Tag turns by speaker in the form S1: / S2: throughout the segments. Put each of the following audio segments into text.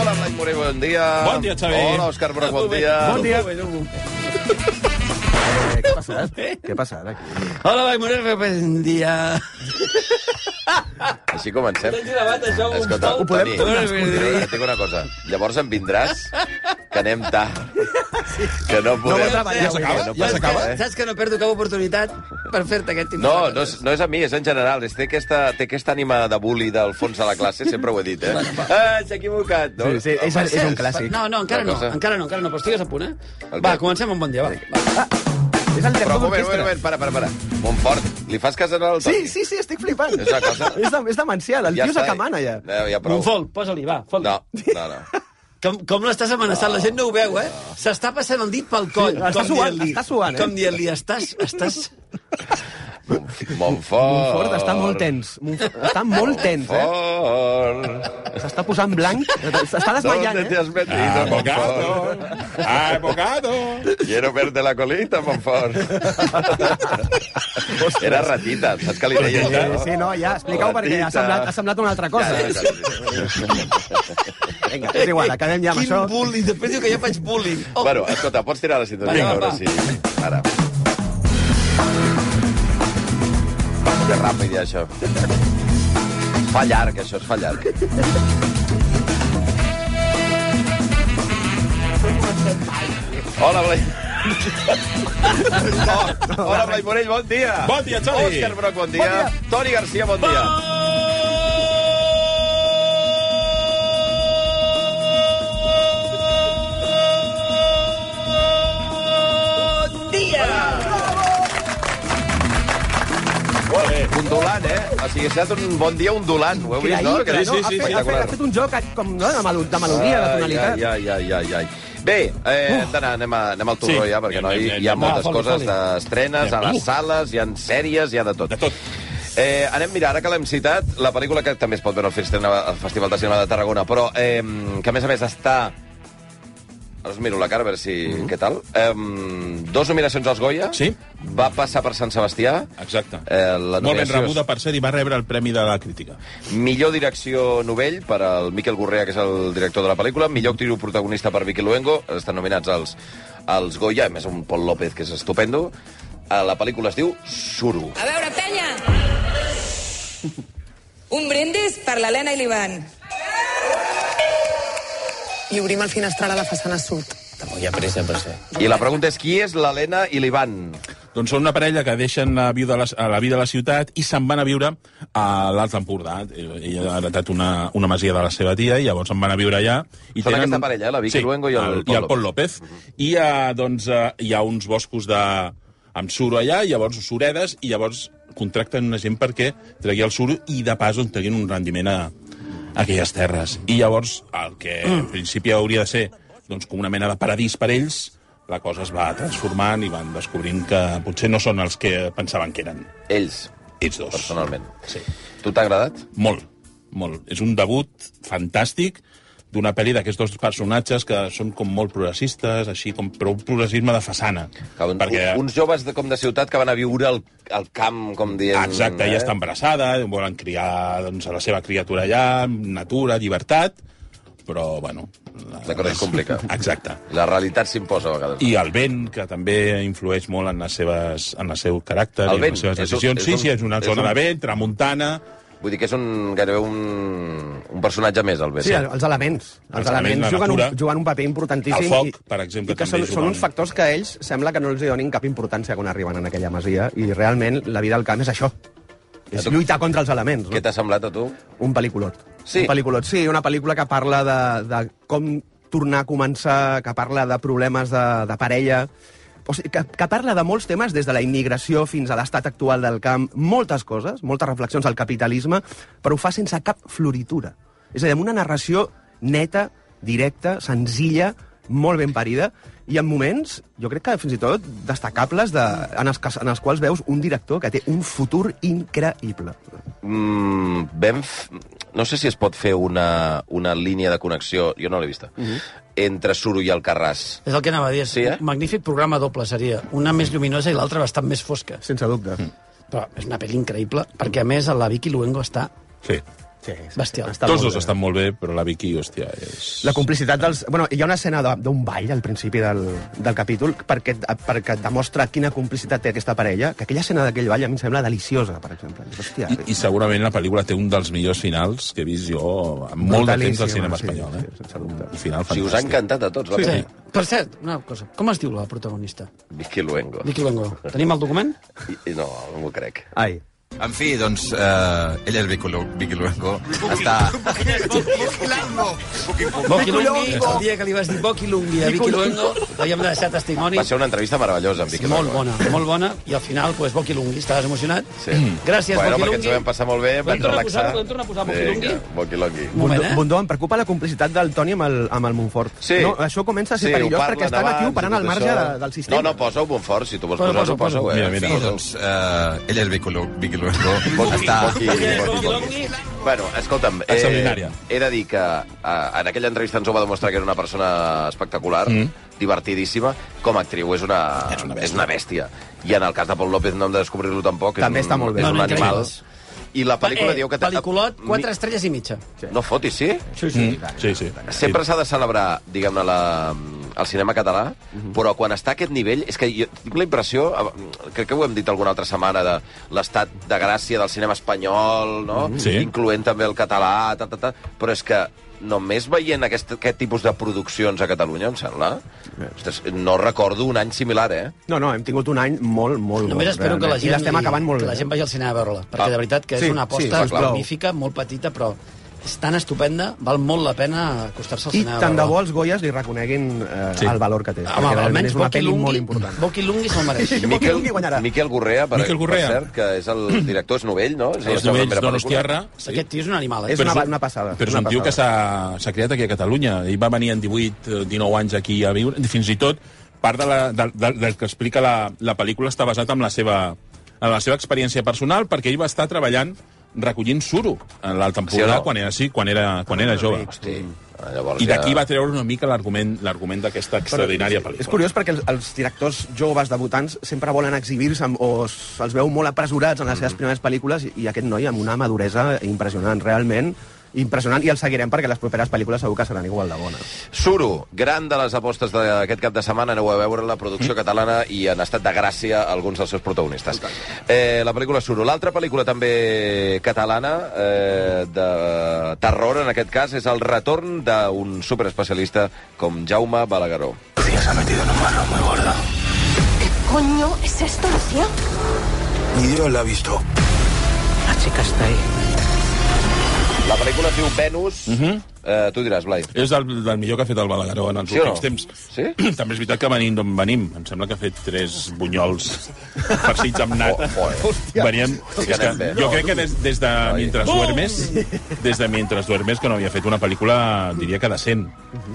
S1: Hola, Blai Moreno, bon dia.
S2: Bon dia, Xavi.
S1: Hola, Òscar Broc, bon dia.
S2: Bon dia.
S3: Eh, què ha passat? Què ha passat aquí?
S2: Hola, Blai Moreno, bon dia.
S1: Així comencem.
S2: gravat, això, un
S1: Escolta,
S2: sol?
S1: ho podem
S2: Ho podem
S1: Toni,
S2: escoltar.
S1: et dic una cosa. Llavors em vindràs que anem tard. Que no
S3: No
S1: podem...
S3: va treballar,
S1: Que
S3: ja s'acaba?
S1: no
S2: Ja
S1: podem,
S2: s'acaba?
S1: eh?
S4: Saps que no perdo cap oportunitat per fer-te aquest tipus
S1: No,
S4: de
S1: no és, no és a mi, és en general. És, té, aquesta, té aquesta ànima de bully del fons de la classe, sempre ho he dit, eh? Ah, s'ha equivocat. No?
S3: Sí, sí, és, és un clàssic.
S4: No, no, encara
S1: Una
S4: no,
S1: cosa.
S4: encara no, encara no, però estigues a punt, eh?
S1: El
S4: Va,
S1: què?
S4: comencem amb bon dia, va.
S3: És el
S1: Però
S3: director
S1: un moment, un moment, un
S3: d'orquestra.
S1: moment, para, para, para. Montfort, li fas cas en el Toni?
S3: Sí, sí, sí, estic flipant.
S1: És una cosa-
S3: És, de, és demencial, el
S1: Ja
S3: tio és
S1: està,
S3: a Camana, ja.
S1: No, ja prou.
S4: Monfol, posa-li, va, fol.
S1: No, no, no.
S4: Com, com l'estàs amenaçant, la gent no ho veu, eh? S'està passant el dit pel coll.
S3: Sí, està
S4: com
S3: suant,
S4: dient-li-
S3: està suant, eh?
S4: Com dient-li, estàs... estàs...
S1: Montfort.
S3: Montfort està molt tens. Montfort està
S1: Oh.
S3: molt tens, eh?
S1: Montfort.
S3: S'està posant blanc, s'està desmaiant,
S1: ¿Dónde te
S3: eh?
S1: has metido,
S2: Abogado.
S1: Monfort?
S2: Abogado.
S1: Quiero verte la colita, Monfort. Era ratita, saps que li deia
S3: Sí,
S1: això?
S3: sí, no, ja, explica-ho perquè ha semblat, ha semblat una altra cosa. Vinga, és igual, acabem ja amb
S4: Quin
S3: això.
S4: bullying, després diu que jo faig bullying. Oh,
S1: Bueno, escolta, pots tirar la sintonia,
S4: Vinga,
S1: a veure
S4: va.
S1: si... Ara. Que ràpid, ja, això. Es fa llarg, això, es fa llarg. Hola, Blai... Oh, hola, Blai Morell, bon dia.
S2: Bon dia, Xavi.
S1: Òscar Broc, bon dia. Toni Garcia, bon dia. Molt bé. Ondulant, eh? O sigui, ha estat un bon dia ondulant. Ho heu vist, no?
S3: Creïble,
S1: Que-
S3: no? Ha fet, ha fet, ha fet un joc com, no? de, melo- de melodia, de tonalitat.
S1: Ai, ai, ai, ai, ai. Bé, eh, hem d'anar, anem, a, anem al torró
S2: Sí.
S1: ja, perquè
S2: Anem,
S1: no, hi,
S2: anem,
S1: hi ha
S2: anem.
S1: moltes
S2: Va, foli,
S1: coses
S2: foli.
S1: d'estrenes, a
S2: Anem.
S1: les sales, hi ha sèries, hi ha de tot.
S2: De tot.
S1: Eh, anem, mira, ara que l'hem citat, la pel·lícula que també es pot veure al Festival- al Festival de Cinema de Tarragona, però eh, que a més a més està... Ara us miro la cara, a veure si... Mm -hmm. Què tal? Eh, dos nominacions als Goya.
S2: Mm-hmm. Sí.
S1: Va passar per Sant Sebastià.
S4: Oh.
S2: Exacte.
S1: Eh, la
S2: Molt ben
S1: nominació és-
S2: rebuda per ser i va rebre el Premi de la Crítica.
S1: Millor direcció novell per al Miquel Gurrea, que és el director de la pel·lícula. Millor actriu protagonista per Vicky Luengo. Estan nominats als, als Goya, a més un Pol López, que és estupendo. A la pel·lícula es diu Suro.
S5: A veure, penya! Un brindis per l'Helena i l'Ivan.
S6: i obrim el finestral a la façana sud.
S1: I la pregunta és qui és l'Helena i l'Ivan?
S2: Doncs són una parella que deixen la vida de la, a la vida de la ciutat i se'n van a viure a l'Alt Empordà. Eh, Ella ha heretat una, una masia de la seva tia i llavors se'n van a viure allà. I
S1: Són aquesta parella, eh, la Vicky Luengo i el Pol
S2: i el Pol López. I eh, doncs, eh, hi ha uns boscos de, amb suro allà, i llavors suredes, i llavors contracten una gent perquè tregui el suro i de pas doncs, treguin un rendiment a, a aquelles terres. I llavors el que en principi hauria de ser doncs, com una mena de paradís per ells, la cosa es va transformant i van descobrint que potser no són els que pensaven que eren.
S1: Ells,
S2: Ells dos.
S1: personalment.
S2: Sí.
S1: Tu t'ha agradat?
S2: Molt, molt. És un debut fantàstic d'una pel·li d'aquests dos personatges que són com molt progressistes, així com però un progressisme de façana.
S1: Que, un, Perquè... Uns joves de, com de ciutat que van a viure al, al camp, com eh? dient...
S2: Exacte, ella està embarassada, volen criar doncs, a la seva criatura allà, amb natura, llibertat, però, bueno...
S1: La cosa es complica.
S2: Exacte.
S1: La realitat s'imposa a vegades.
S2: I el vent, que també influeix molt en, les seves, en el seu caràcter
S1: El
S2: i en
S1: vent,
S2: les seves
S1: és un-
S2: decisions.
S1: és
S2: sí,
S1: un-
S2: sí, és una
S1: és
S2: zona
S1: un-
S2: de vent, tramuntana...
S1: Vull dir que és un, gairebé un, un personatge més, el BC.
S3: Sí, el- els elements. Els,
S2: Els
S3: els
S2: elements, la
S3: elements juguen un,
S2: natura.
S3: juguen un paper importantíssim.
S2: El foc,
S3: i-
S2: per exemple,
S3: i que
S2: també
S3: són,
S2: juga
S3: són
S2: un-
S3: uns factors que a ells sembla que no els hi donin cap importància quan arriben en aquella masia, i realment la vida al camp és això. És
S1: tu-
S3: lluitar contra els elements.
S1: Què
S3: No?
S1: t'ha semblat a tu?
S3: Un pel·lículot.
S1: Sí.
S3: Un pel·lículot, sí, una pel·lícula que parla de, de com tornar a començar, que parla de problemes de, de parella, o sigui, que, que parla de molts temes, des de la immigració fins a l'estat actual del camp, moltes coses, moltes reflexions al capitalisme, però ho fa sense cap floritura. És a dir, amb una narració neta, directa, senzilla, molt ben parida, i en moments, jo crec que fins i tot destacables, de, en, els, que- en els quals veus un director que té un futur increïble.
S1: Mm, vam... F... No sé si es pot fer una, una línia de connexió, jo no l'he vista, mm
S3: Mhm.
S1: -hmm. entre Suro i Alcarràs.
S4: És el que anava a dir.
S1: Sí, eh?
S4: Un magnífic programa doble seria. Una més lluminosa i l'altra bastant més fosca.
S3: Sense dubte. Mm.
S4: Però és una pel·li increïble, perquè a més la Vicky Luengo està...
S2: Sí.
S3: Sí,
S4: Bestial.
S2: Tots
S3: molt
S2: dos
S3: bé.
S2: estan molt bé, però la Vicky, hòstia, és...
S3: La complicitat dels... Bueno, hi ha una escena de- d'un ball al principi del, del capítol perquè, et- perquè et demostra quina complicitat té aquesta parella, que aquella escena d'aquell ball a mi em sembla deliciosa, per exemple. Dius, Hòstia, eh.
S2: I, I segurament la pel·lícula té un dels millors finals que he vist jo en molt de temps
S3: Brutalíssima,
S2: al cinema
S3: sí,
S2: espanyol. Eh?
S3: sí, sense dubte.
S2: Un final
S1: O sigui,
S2: fantàstic.
S1: us ha encantat a tots, la sí. pel·li.
S4: Per cert, una cosa. Com es diu la protagonista?
S1: Vicky Luengo.
S4: Vicky Luengo. Tenim el document?
S1: I, i no, no m'ho crec.
S3: Ai.
S7: En fi, doncs, eh, ell és Vicky Lu- Vicky Luengo. Està...
S4: Vicky Luengi, el dia que li vas dir Boqui Lungi de Vicky Luengo, havíem de deixar testimoni.
S1: Va ser una entrevista meravellosa amb Vicky
S4: Molt
S1: Luengo.
S4: bona, molt bona. I al final, pues, Boqui Lungi, estaves emocionat?
S1: Sí.
S3: Mm.
S4: Gràcies,
S1: bueno,
S4: Boqui
S1: perquè ens
S4: Lungi.
S1: ho vam passar molt bé,
S4: Podem
S1: vam
S4: tornar a
S1: relaxar.
S4: posar- podem tornar a posar Bokilongui?
S1: Vinga, Bokilongui.
S4: Un moment, eh?
S3: Bondó, em preocupa la complicitat del Toni amb el, amb el Montfort.
S1: Sí.
S3: No, això comença a ser
S1: sí,
S3: sí,
S1: ho
S3: perillós
S1: parlen
S3: perquè estan aquí
S1: abans
S3: operant
S1: i
S3: al
S1: tot
S3: marge de,
S1: això.
S3: del sistema.
S1: No, no, posa-ho Montfort, si tu vols
S4: Posa,
S1: posar-ho,
S4: posa,
S1: posa-ho.
S2: Mira,
S7: En
S1: Eh?
S2: mira.
S7: fi, doncs, eh, ell és Vicky Lu- Vicky Luengo.
S1: Boqui,
S7: Està...
S1: boqui, boqui, boqui. Bueno, escolta'm, eh,
S2: Extraordinària.
S1: he de dir que eh, en aquella entrevista ens ho va demostrar que era una persona espectacular, mm. divertidíssima, com a actriu és una, és una, és una bèstia. I en el cas de Pol López no hem de descobrir-lo tampoc. és
S3: També
S1: un,
S3: està molt bé.
S1: És un
S4: No, no,
S1: animal.
S4: increïble.
S1: I la pel·lícula
S4: eh,
S1: diu que...
S4: Pel·liculot, 4 estrelles i mitja.
S1: No fotis, sí?
S4: Sí, sí. Mm.
S2: Sí, sí.
S1: Sempre s'ha de celebrar, diguem-ne, la, el cinema català,
S2: Mhm.
S1: però quan està a aquest nivell, és que jo tinc la impressió, eh, crec que ho hem dit alguna altra setmana, de l'estat de gràcia del cinema espanyol, no?
S2: Mhm. Sí.
S1: incloent també el català, ta, ta, ta, però és que només veient aquest, aquest tipus de produccions a Catalunya, em sembla, ostres, no recordo un any similar, eh?
S3: No, no, hem tingut un any molt, molt
S4: Només
S3: bo,
S4: espero que la
S3: realment.
S4: gent,
S3: I l'estem acabant molt
S4: que
S3: bé.
S4: la gent vagi al cinema a veure-la, perquè
S1: Ah.
S4: de veritat que és
S3: Sí,
S4: una
S3: sí,
S4: aposta
S3: sisplau.
S4: magnífica, molt petita, però és tan estupenda, val molt la pena acostar-se al
S3: I
S4: cinema
S3: tant
S4: a
S3: de bo
S4: veure-la.
S3: els Goyes li reconeguin eh,
S2: Sí.
S3: sí. el valor que té. perquè
S4: Home,
S3: realment
S4: almenys
S3: és una
S4: Boqui
S3: pel·li molt
S4: Lungui,
S3: important.
S4: Boqui Lungui se'l mereix.
S1: Miquel,
S3: Lungui guanyarà.
S1: Miquel Gurrea, per,
S2: Miquel Gurrea.
S1: per cert, que és el director, és novell, no? la
S2: És
S1: seva
S2: novells
S1: primera
S2: donostiarra,
S4: Aquest tio és un animal, eh?
S3: És una,
S2: Però és un-
S3: una passada.
S2: però és un
S3: una
S2: tio que
S3: passada.
S2: s'ha s'ha creat aquí a Catalunya. Ell va venir en 18, eh, 19 anys aquí a viure. Fins i tot, part de la, de, de, del que explica la, la pel·lícula està basat en la seva, en la seva experiència personal, perquè ell va estar treballant recollint suro en l'alta
S1: Sí
S2: temporada
S1: o no?
S2: quan era, sí, quan era, quan era jove. Mm.
S1: Hosti, Ah, llavors
S2: I d'aquí
S1: ja-
S2: va treure una mica l'argument l'argument d'aquesta extraordinària pel·lícula.
S3: És curiós perquè els, els directors joves debutants sempre volen exhibir-se amb- o se'ls veu molt apresurats en les
S2: Mm-hmm.
S3: seves primeres pel·lícules i, i aquest noi amb una maduresa impressionant, realment impressionant, i el seguirem perquè les properes pel·lícules segur que seran igual de bones.
S1: Suro, gran de les apostes d'aquest cap de setmana, aneu a veure la producció catalana i han estat de gràcia alguns dels seus protagonistes. Eh, la pel·lícula Suro. L'altra pel·lícula també catalana, eh, de terror en aquest cas, és el retorn d'un superespecialista com Jaume Balagueró.
S8: coño es esto, Lucía?
S7: Ni Dios la ha visto.
S6: La chica está ahí.
S1: La pel·lícula es diu Venus, eh, tu diràs, Blai.
S2: És del, del millor que ha fet el Balagueró en els
S1: Sí o
S2: últims
S1: no?
S2: temps.
S1: Sí?
S2: També és veritat que venim d'on venim. Em sembla que ha fet tres bunyols farcits amb nata.
S1: Oh,
S3: eh?
S1: joder.
S2: Veníem...
S1: Sí que
S2: és que
S1: anem bé.
S2: jo crec que des, des de
S1: Ai.
S2: Mentre Duermes, des de Mentre Duermes, que no havia fet una pel·lícula, diria que decent.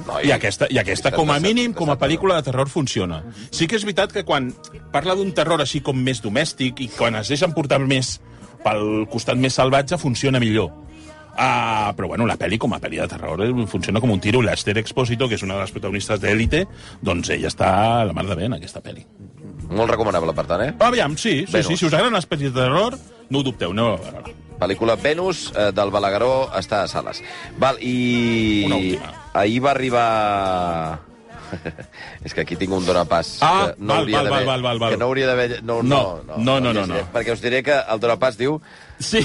S1: Noi,
S2: I aquesta, i aquesta com a
S1: desatado,
S2: mínim, com a
S1: desatado.
S2: pel·lícula de terror funciona. Sí que és veritat que quan parla d'un terror així com més domèstic i quan es deixen portar més pel costat més salvatge, funciona millor. Ah, però bueno, la pel·li com a pel·li de terror eh, funciona com un tiro. L'Ester Expósito, que és una de les protagonistes d'Elite, doncs ella està a la mar de bé en aquesta pel·li.
S1: Molt recomanable, per tant, eh?
S2: Aviam, sí, sí,
S1: Venus.
S2: sí, si us agraden les pel·lis de terror, no ho dubteu, aneu a veure-la.
S1: Pel·lícula Venus, eh, del Balagueró, està a sales. Val, i...
S2: Una última.
S1: Ahir va arribar... és que aquí tinc un donapàs
S2: Ah,
S1: que no
S2: val,
S1: hauria
S2: val,
S1: d'haver-
S2: val, val, val.
S1: que no hauria d'haver... No,
S2: No, no, no, no, no.
S1: Perquè us diré que el donapàs diu
S2: Sí,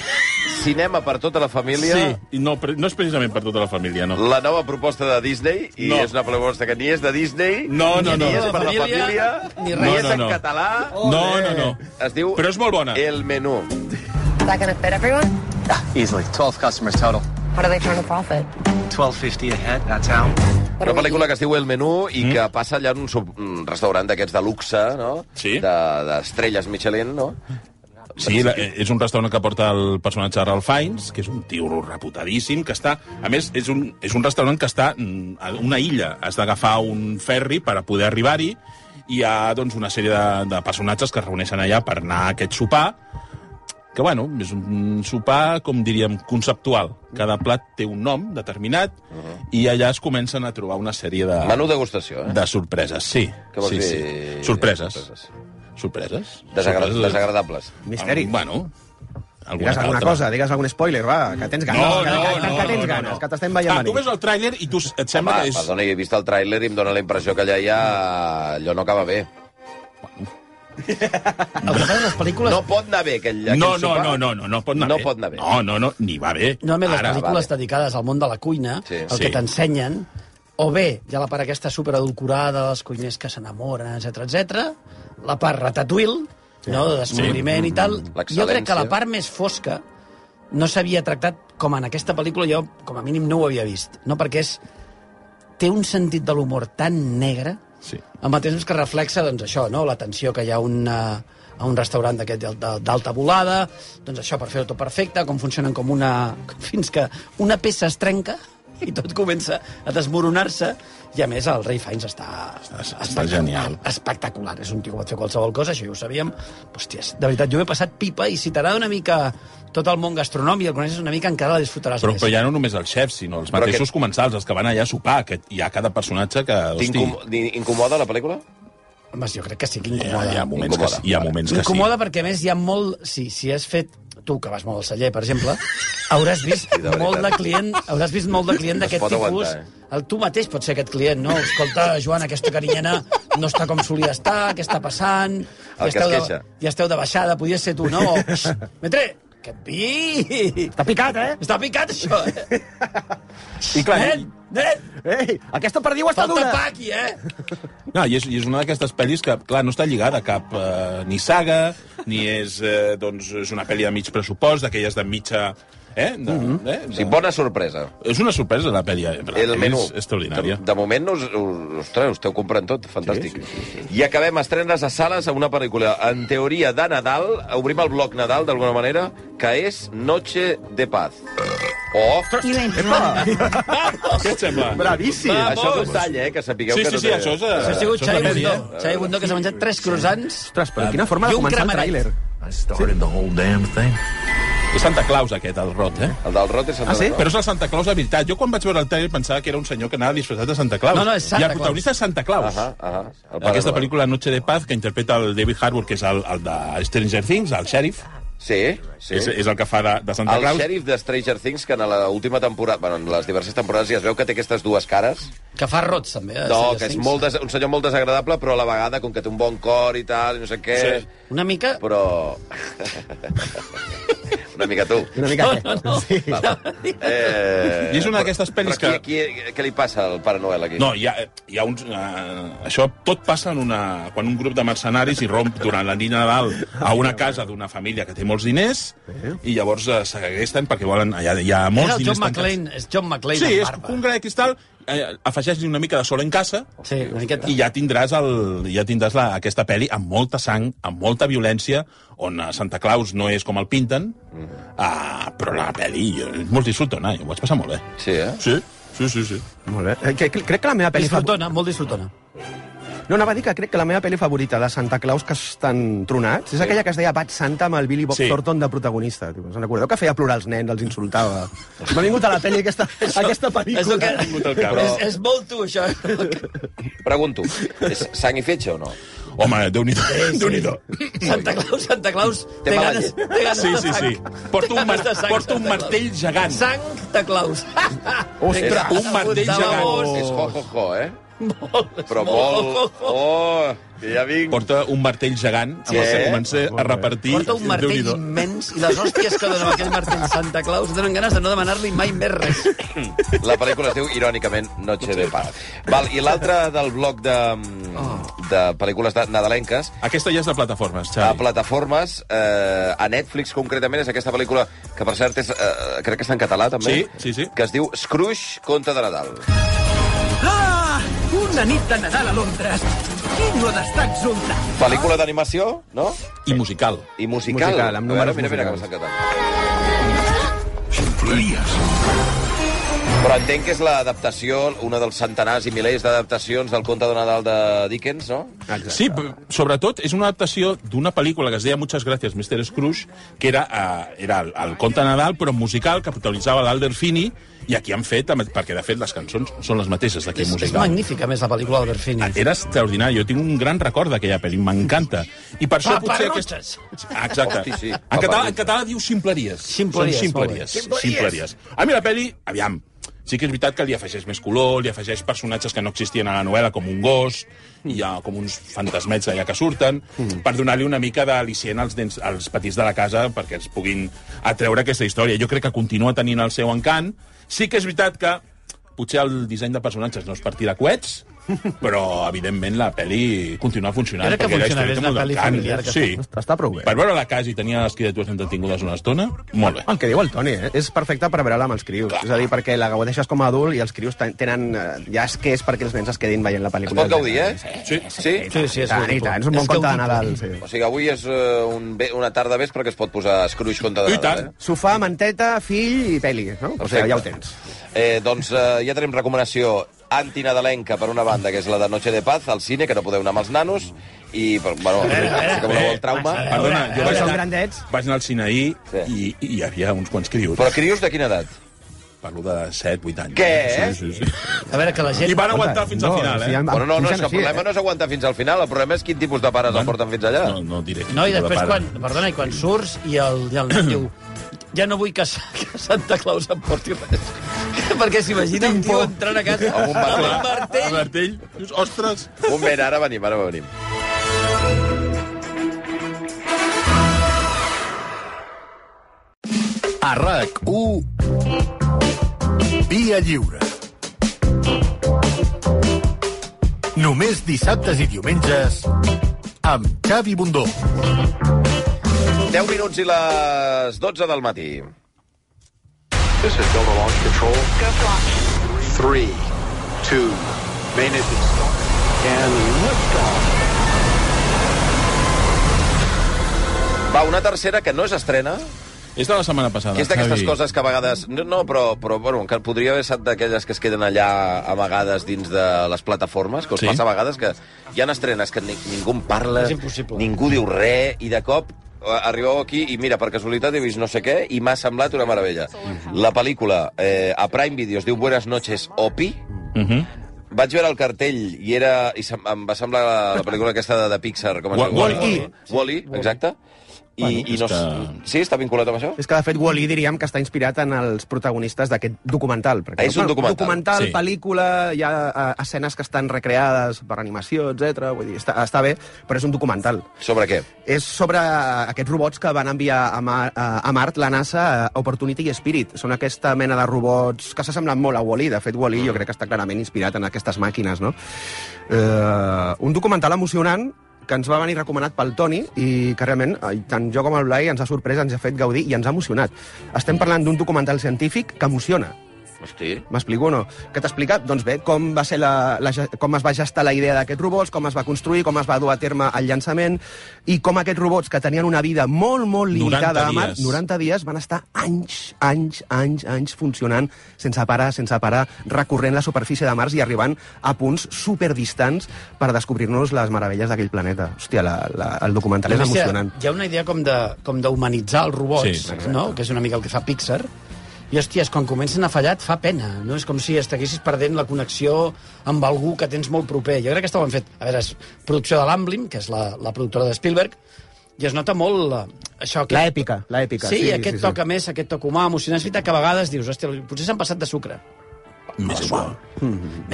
S1: cinema per tota la família,
S2: sí. I no, pre- no és precisament per tota la família, no.
S1: la nova proposta de Disney, i
S2: No.
S1: és una proposta que ni és de Disney,
S2: No, no, no.
S1: ni és per la
S4: Família,
S1: família,
S4: ni
S1: ni, és
S4: res.
S2: No, no,
S1: en
S2: no.
S1: català.
S2: No, no, no.
S1: Es diu
S2: Però és molt bona.
S1: El menú.
S8: That gonna fit everyone?
S7: Easily. 12 customers total.
S8: How do they turn a profit?
S7: 12.50 a head, that's how.
S1: Una pel·lícula que es diu El Menú i
S2: Mm.
S1: que passa allà en un sub... un restaurant d'aquests de luxe, no?
S2: Sí.
S1: De- D'estrelles Michelin, no?
S2: Sí, la, és un restaurant que porta el personatge de Ralph Fiennes, que és un tio reputadíssim, que està... A més, és un, és un restaurant que està mm, a una illa. Has d'agafar un ferri per a poder arribar-hi. Hi ha doncs, una sèrie de, de personatges que es reuneixen allà per anar a aquest sopar, que, bueno, és un sopar, com diríem, conceptual. Cada plat té un nom determinat uh -huh. i allà es comencen a trobar una sèrie de...
S1: Uh-huh. Menú degustació, eh?
S2: De sorpreses, sí.
S1: Què vols
S2: sí,
S1: dir?
S2: sí. Sorpreses. Sorpreses.
S1: Desagra
S2: Sorpreses.
S1: desagradables.
S3: Misteri.
S2: Ah, Bueno, alguna
S3: Digues
S2: que
S3: alguna
S2: altra.
S3: cosa, digues algun spoiler, va, que tens ganes,
S2: No,
S3: que, que,
S2: no,
S3: que,
S2: no,
S3: que tens
S2: no, no,
S3: ganes,
S2: no.
S3: que t'estem veient
S2: Ah, tu
S3: venir.
S2: veus el tràiler i tu, et sembla
S1: Home,
S2: que és...
S1: perdona, he vist el tràiler i em dóna la impressió que allà ja... allò no acaba bé.
S4: El que passa en les pel·lícules...
S1: No pot anar bé aquell, aquell
S2: No, no,
S1: sopar.
S2: no, no, no, no pot anar
S1: No
S2: bé.
S1: pot anar bé.
S2: No, no, no, ni va bé.
S4: Normalment les
S2: Ara,
S4: pel·lícules
S1: vale.
S4: dedicades al món de la cuina,
S1: Sí.
S4: el
S2: Sí.
S4: que t'ensenyen, o bé ja la part aquesta superadulcorada dels cuiners que s'enamoren, etc etc, la part ratatouille, no, de descobriment sí. i tal. Jo crec que la
S1: L'excel·lència.
S4: part més fosca no s'havia tractat com en aquesta pel·lícula, jo com a mínim no ho havia vist, no perquè és té un sentit de l'humor tan negre
S2: Sí.
S4: al mateix temps que reflexa doncs, això, no? la tensió que hi ha un, eh, a un restaurant d'aquest d'al- d'al- d'alta volada, doncs això per fer-ho tot perfecte, com funcionen com una... fins que una peça es trenca i tot comença a desmoronar-se i a més el rei Fiennes està,
S2: Està- està genial.
S4: espectacular, és un tio que pot fer qualsevol cosa, això ja ho sabíem hòsties, de veritat, jo m'he passat pipa i si t'agrada una mica tot el món gastronòmic i el coneixes una mica encara la disfrutaràs
S2: Però,
S4: més
S2: però ja no només els xefs, sinó els
S1: Però
S2: mateixos
S1: aquest-
S2: comensals, els que van allà a sopar, que hi ha cada personatge que... Hosti,
S1: T'incom- T'incomoda la pel·lícula?
S4: Home, jo crec que sí que
S2: hi ha,
S4: incomoda
S2: hi ha moments que, sí, hi ha moments que sí.
S4: Incomoda perquè, a més, hi ha molt... Si, si has fet tu, que vas molt al celler, per exemple, hauràs vist
S1: Sí, de veritat.
S4: molt de client, hauràs vist molt de client
S1: No es
S4: d'aquest
S1: pot
S4: tipus.
S1: aguantar, eh?
S4: El, tu mateix pots ser aquest client, no? Escolta, Joan, aquesta carinyena no està com solia estar, què està passant?
S1: El que es
S4: de,
S1: queixa.
S4: ja esteu de baixada, podies ser tu, no? O, "Xxt, Metre, aquest vi...
S3: T'ha picat, eh?
S4: Està picat, això, eh?
S3: I clar,
S4: Nen, nen,
S3: Ei, aquesta perdiu està
S4: falta
S3: dura!
S4: pa aquí, eh?
S2: No, i és, i és una d'aquestes pel·lis que, clar, no està lligada a cap eh, ni saga, ni és, eh, doncs, és una pel·li de mig pressupost, d'aquelles de mitja... Eh? De, mm
S3: Mhm.
S2: -hmm. eh? De...
S1: Sí, bona sorpresa.
S2: És una sorpresa, la pel·li. eh? La
S1: El
S2: pel·li
S1: menú.
S2: És extraordinària.
S1: De, de moment, us, us, ostres, esteu comprant tot, fantàstic. Sí, sí, sí, sí. I acabem estrenes a sales a una pel·lícula, en teoria, de Nadal, obrim el bloc Nadal, d'alguna manera, que és Noche de Paz. Oh,
S3: Epa!
S2: Què et sembla?
S3: Bravíssim!
S1: això és un tall, eh, que sapigueu
S2: Sí,
S1: que
S2: sí,
S1: no
S2: sí,
S1: té-
S2: això és... eh,
S4: Això ha sigut
S2: és una
S4: Xavi
S2: pel·li, eh?
S4: Bundó. Xavi Bundó, que s'ha menjat tres croissants.
S3: Ostres, però quina forma
S4: I
S3: de
S4: un
S3: començar el
S4: cremeret.
S3: tràiler.
S6: I started the whole damn thing.
S2: És Santa Claus, aquest, el rot, eh?
S1: El del Rot és Santa
S3: Ah, sí?
S1: Claus.
S2: Però és el Santa Claus de veritat. Jo quan vaig veure el trailer pensava que era un senyor que anava disfressat de Santa Claus.
S4: No, no, és Santa
S2: I el protagonista és Santa Claus.
S1: Ahà, ahà. El pare
S2: Aquesta
S1: Noel.
S2: pel·lícula Noche de Paz, que interpreta el David Harbour, que és el, el de Stranger Things, el xèrif,
S1: Sí, sí.
S2: sí. és, és el que fa de, de Santa
S1: El
S2: Claus.
S1: xèrif de Stranger Things, que en l'última temporada, bueno, en les diverses temporades ja es veu que té aquestes dues cares.
S4: Que fa rots, també. eh,
S1: No,
S4: Stranger
S1: que és
S4: Things.
S1: molt des... un senyor molt desagradable, però a la vegada, com que té un bon cor i tal, i no sé què...
S2: Sí.
S4: Una mica...
S1: Però... Una mica tu.
S3: Una mica...
S4: No, no, sí.
S1: Eh...
S2: I és una d'aquestes pel·lis
S1: però Qui, qui, què li passa al Pare Noel, aquí?
S2: No, hi ha, hi ha uns... Eh, això tot passa en una, quan un grup de mercenaris irromp durant la nit de Nadal a una casa d'una família que té molts diners i llavors eh, s'agresten perquè volen... Hi ha, hi ha
S4: és
S2: molts
S4: el
S2: diners
S4: John
S2: tancats.
S4: McClane, és John McClane
S2: Sí,
S4: amb
S2: és
S4: barba.
S2: un gran de cristal, eh, afegeix-li una mica de sol en casa
S4: Sí, una miqueta.
S2: i ja tindràs, el, ja tindràs la, aquesta pel·li amb molta sang, amb molta violència, on eh, Santa Claus no és com el pinten, ah, però la pel·li jo- és molt disfrutona, jo ho vaig passar molt bé.
S1: Sí, eh?
S2: Sí, sí, sí. sí.
S3: Molt bé. Eh, Que, que, crec que la meva pel·li... favor-
S4: Disfrutona, molt disfrutona.
S3: No, anava a dir que crec que la meva pel·li favorita de Santa Claus que estan tronats és aquella que es deia Bad Santa amb el Billy Bob
S2: Sí.
S3: Thornton de protagonista. Tio, us en recordeu que feia plorar els nens, els insultava? M'ha vingut a la pel·li aquesta, aquesta
S4: És, el
S3: pel·lícula.
S4: que...
S2: vingut al cap.
S4: és, és molt tu, això.
S1: Pregunto, és sang i fetge o no?
S2: Home, Déu-n'hi-do. déu nhi déu
S4: Santa Claus, Santa Claus,
S1: Té
S4: té
S1: mala
S4: ganes,
S1: llet.
S4: té ganes
S2: Sí,
S4: de
S2: sí,
S4: sang.
S2: sí. Porta un, mar
S4: Té ganes de sang,
S2: porta un
S4: Santa Claus.
S2: martell gegant.
S4: Sang de Claus.
S3: Ostres!
S2: Un martell
S4: Apuntava
S2: gegant.
S4: molt.
S1: És ho-ho-ho, eh?
S4: Molt, és
S1: Però
S4: molt.
S1: molt... Oh, que ja vinc...
S2: Porta un martell gegant amb el
S1: Sí.
S2: que comença a repartir.
S4: Porta un martell
S2: Déu-n'hi-do.
S4: immens i les hòsties que dona amb aquell martell Santa Claus donen ganes de no demanar-li mai més res.
S1: La pel·lícula es diu, irònicament, Noche de Paz. Val, I l'altra del bloc de,
S4: Ah.
S1: de pel·lícules de nadalenques,
S2: Aquesta ja és de plataformes,
S1: a
S2: Xavi.
S1: plataformes, eh, a Netflix concretament, és aquesta pel·lícula que, per cert, és, eh, crec que està en català, també,
S2: Sí, sí, sí.
S1: que es diu Scrooge, conte de Nadal.
S6: I
S9: Ah, Una nit de Nadal a Londres. Qui no ha d'estar exultant?
S1: Pel·lícula d'animació, no?
S2: I musical.
S1: I musical.
S3: Musical, amb
S1: A veure,
S3: números
S1: mira, mira com
S3: musicals.
S1: s'ha encantat. Però entenc que és l'adaptació, una dels centenars i milers d'adaptacions del conte de Nadal de Dickens, no?
S2: Sí, p- sobretot és una adaptació d'una pel·lícula que es deia Muchas gracias, Mr. Scrooge, que era, eh, era el, el conte de Nadal, però musical, que protagonitzava l'Alder Finney, i aquí han fet, perquè de fet les cançons són les mateixes d'aquell
S4: És, és
S2: musical.
S4: magnífica, a més, la pel·lícula d'Albert Finney.
S2: Era extraordinari, jo tinc un gran record d'aquella pel·li, m'encanta. I per això potser... Aquest...
S4: Paparrotxes!
S2: Ah, Exacte.
S1: Hosti, sí.
S2: En català, en català diu ximpleries.
S4: Ximpleries,
S2: Són
S4: molt bé.
S2: ximpleries. Ximpleries. A mi la pel·li, aviam, sí que és veritat que li afegeix més color, li afegeix personatges que no existien a la novel·la, com un gos,
S4: Mm.
S2: i hi ha com uns fantasmets allà que surten, per donar-li una mica d'al·licient als, dents, als petits de la casa perquè els puguin atreure aquesta història. Jo crec que continua tenint el seu encant. Sí que és veritat que potser el disseny de personatges no és per tirar coets, però, evidentment, la pel·li continua funcionant.
S4: Jo crec que
S2: perquè la
S4: funciona bé,
S2: història té
S4: és
S2: molt
S4: una pel·li
S2: d'encant.
S4: familiar, que
S2: Sí.
S3: Ostres, està prou bé.
S2: Per veure la casa i tenia les criatures entretingudes una estona, molt bé.
S3: El que diu el Toni, eh? és perfecte per veure'la amb els crios. Clar. És a dir, perquè la gaudeixes com a adult i els crios ten- tenen... eh, Ja és que és perquè els nens es quedin veient la
S1: Es
S3: pel·lícula.
S1: pot gaudir, eh?
S2: Sí.
S1: Sí?
S4: Sí, sí,
S3: I
S4: és
S3: tant, i
S4: boníssim.
S3: tant. És un bon
S4: És
S3: conte de
S4: gaudible.
S3: Nadal, sí.
S1: O sigui, avui és eh, un ve- una tarda vespre que es pot posar Scrooge contra de
S2: I tant.
S1: Nadal, eh?
S3: Sofà, manteta, fill i pel·li, no? O sigui, ja ho tens.
S1: Eh, doncs eh, ja tenim recomanació antinadalenca, per una banda, que és la de Noche de Paz, al cine, que no podeu anar amb els nanos, i, però, bueno,
S2: Eh,
S1: sí que voleu el trauma...
S2: Perdona, jo vaig
S3: Són
S2: anar,
S3: grandets.
S2: vaig anar al cine ahir
S1: Sí.
S2: sí. i, i hi havia uns quants crios.
S1: Però crios de quina edat?
S2: Parlo de 7, 8 anys.
S1: Què? eh?
S2: Sí, sí, sí.
S4: A veure, que la gent...
S2: I van aguantar fins al final, eh?
S1: Bueno, no, no, és que el
S3: així,
S1: problema no és aguantar fins al final, el problema és quin tipus de pares el porten fins allà.
S2: No, no diré.
S4: No, i després
S2: Però,
S4: quan,
S2: pare,
S4: perdona, i quan surts i el, i el nen diu ja no vull que, Sa- que Santa Claus em porti res. Perquè s'imagina un tio entrant a casa
S1: Amb un martell.
S4: amb un martell.
S2: El martell. Dius, ostres.
S1: Un moment, ara venim, ara venim.
S6: A RAC1, Via Lliure. Només dissabtes i diumenges amb Xavi Bundó.
S1: 10 minuts i les 12 del matí.
S9: This is Delta Launch Control. Go launch. Three, two, main engine start. And liftoff.
S1: Va, una tercera que no és estrena,
S2: És de la setmana passada,
S1: que és d'aquestes
S2: Xavi.
S1: coses que a vegades... No, no però, però bueno, que podria haver estat d'aquelles que es queden allà amagades dins de les plataformes, que us
S2: Sí.
S1: sí. passa a vegades que hi ha estrenes que ni, ningú en parla,
S4: És impossible.
S1: ningú diu res, i de cop eh, arribeu aquí i mira, per casualitat he vist no sé què i m'ha semblat una meravella.
S2: Mhm.
S1: La pel·lícula eh, a Prime Video es diu Buenas noches, Opi,
S2: Mhm.
S1: Vaig veure el cartell i era i se, em va semblar la, la pel·lícula aquesta de, de Pixar. Com es
S2: Wa-
S1: diu?
S2: Wall-E.
S1: Wall-E, exacte. I,
S2: Bueno,
S1: i no,
S2: està-
S1: Sí, està vinculat amb això?
S3: És que, de fet, Wall-E diríem que està inspirat en els protagonistes d'aquest documental.
S1: Ah,
S3: Perquè,
S1: És un documental.
S3: Documental,
S2: Sí.
S3: pel·lícula, hi ha eh, escenes que estan recreades per animació, etc. Vull dir, està, està bé, però és un documental.
S1: Sobre què?
S3: És sobre eh, aquests robots que van enviar a, Mar a Mart la NASA eh, Opportunity i Spirit. Són aquesta mena de robots que s'assemblen molt a Wall-E. De fet, Wall-E jo crec que està clarament inspirat en aquestes màquines, no? Eh, un documental emocionant que ens va venir recomanat pel Toni i que realment, eh, tant jo com el Blai, ens ha sorprès, ens ha fet gaudir i ens ha emocionat. Estem parlant d'un documental científic que emociona.
S1: Hosti.
S3: M'explico o no? Què t'explica? Doncs bé, com, va ser la, la, ge- com es va gestar la idea d'aquests robots, com es va construir, com es va dur a terme el llançament, i com aquests robots, que tenien una vida molt, molt limitada
S2: 90
S3: a Mart,
S2: dies.
S3: 90 dies, van estar anys, anys, anys, anys funcionant sense parar, sense parar, recorrent la superfície de Mars i arribant a punts superdistants per descobrir-nos les meravelles d'aquell planeta. Hòstia, la, la, el documental és
S4: Només hi ha-
S3: emocionant.
S4: Hi ha una idea com de- com d'humanitzar els robots,
S2: Sí,
S4: sí, no? que és una mica el que fa Pixar, i, hòsties, quan comencen a fallar et fa pena, no? És com si estiguessis perdent la connexió amb algú que tens molt proper. Jo crec que estava fet... A veure, és producció de l'Amblin, que és la, la productora de Spielberg, i es nota molt eh, això... Que...
S3: La èpica, la èpica,
S4: Sí,
S3: sí,
S4: sí aquest
S3: sí, sí.
S4: sí, toca més, aquest toca humà, emocionant. És veritat que a vegades dius, hòstia, potser s'han passat de sucre. Mm-hmm.
S2: M'és igual.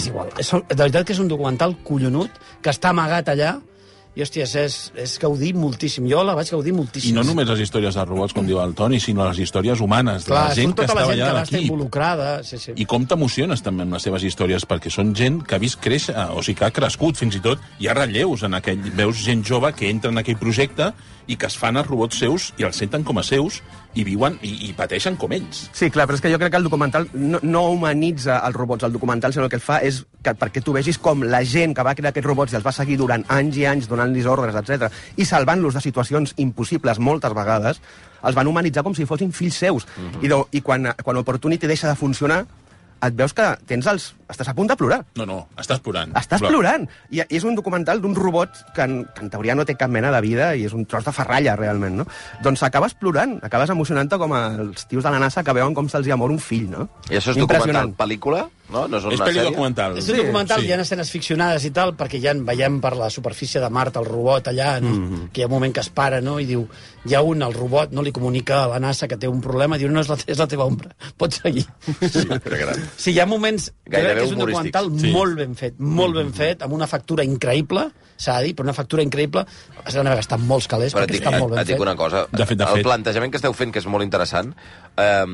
S4: És igual. És, de veritat que és un documental collonut, que està amagat allà, i, hòsties, és, és gaudir moltíssim. Jo la vaig gaudir
S2: I
S4: moltíssim.
S2: no només les històries de robots, com diu el Toni, sinó les històries humanes, de
S4: Clar,
S2: la gent
S4: surt
S2: que
S4: tota la
S2: estava
S4: gent que
S2: allà a
S4: va estar
S2: l'equip.
S4: involucrada. Sí, sí.
S2: I com t'emociones també amb les seves històries, perquè són gent que ha vist créixer, o sigui, que ha crescut fins i tot, hi ha relleus en aquell... Veus gent jove que entra en aquell projecte i que es fan els robots seus i els senten com a seus i viuen i, i pateixen com ells.
S3: Sí, clar, però és que jo crec que el documental no, no humanitza els robots, el documental, sinó el que el fa és que, perquè tu vegis com la gent que va crear aquests robots i els va seguir durant anys i anys donant-los ordres, etc i salvant-los de situacions impossibles moltes vegades, els van humanitzar com si fossin fills seus. Mm -hmm. I, do, I quan, quan Opportunity deixa de funcionar, et veus que tens els... estàs a punt de plorar.
S2: No, no, estàs plorant.
S3: Estàs plorant! I, i és un documental d'un robot que en, que en teoria no té cap mena de vida i és un tros de ferralla, realment, no? Doncs acabes plorant, acabes emocionant-te com els tios de la NASA que veuen com se'ls hi ha mort un fill, no?
S1: I això és documental, pel·lícula? No? No és una
S2: És pel·li documental.
S4: És un documental, sí. hi ha escenes ficcionades i tal, perquè ja en veiem per la superfície de Mart, el robot allà, no? mm
S1: Mhm.
S4: -hmm. que hi ha un moment que es para no? i diu, hi ha un, el robot no li comunica a la NASA que té un problema, diu, no, és la, és la teva ombra, pots seguir.
S1: Sí, que gran.
S4: Sí, hi ha moments... jo
S1: Gairebé
S4: crec que és un
S1: humorístics.
S4: documental
S1: Sí. Mhm.
S4: molt ben fet, molt ben fet, amb una factura increïble, s'ha de dir, però una factura increïble, s'ha d'anar gastant molts calés,
S1: Però
S4: perquè
S1: et dic,
S4: està molt ben
S1: et dic
S4: fet.
S1: una cosa.
S2: De fet, de
S1: el
S2: fet.
S1: plantejament que esteu fent, que és molt interessant, eh,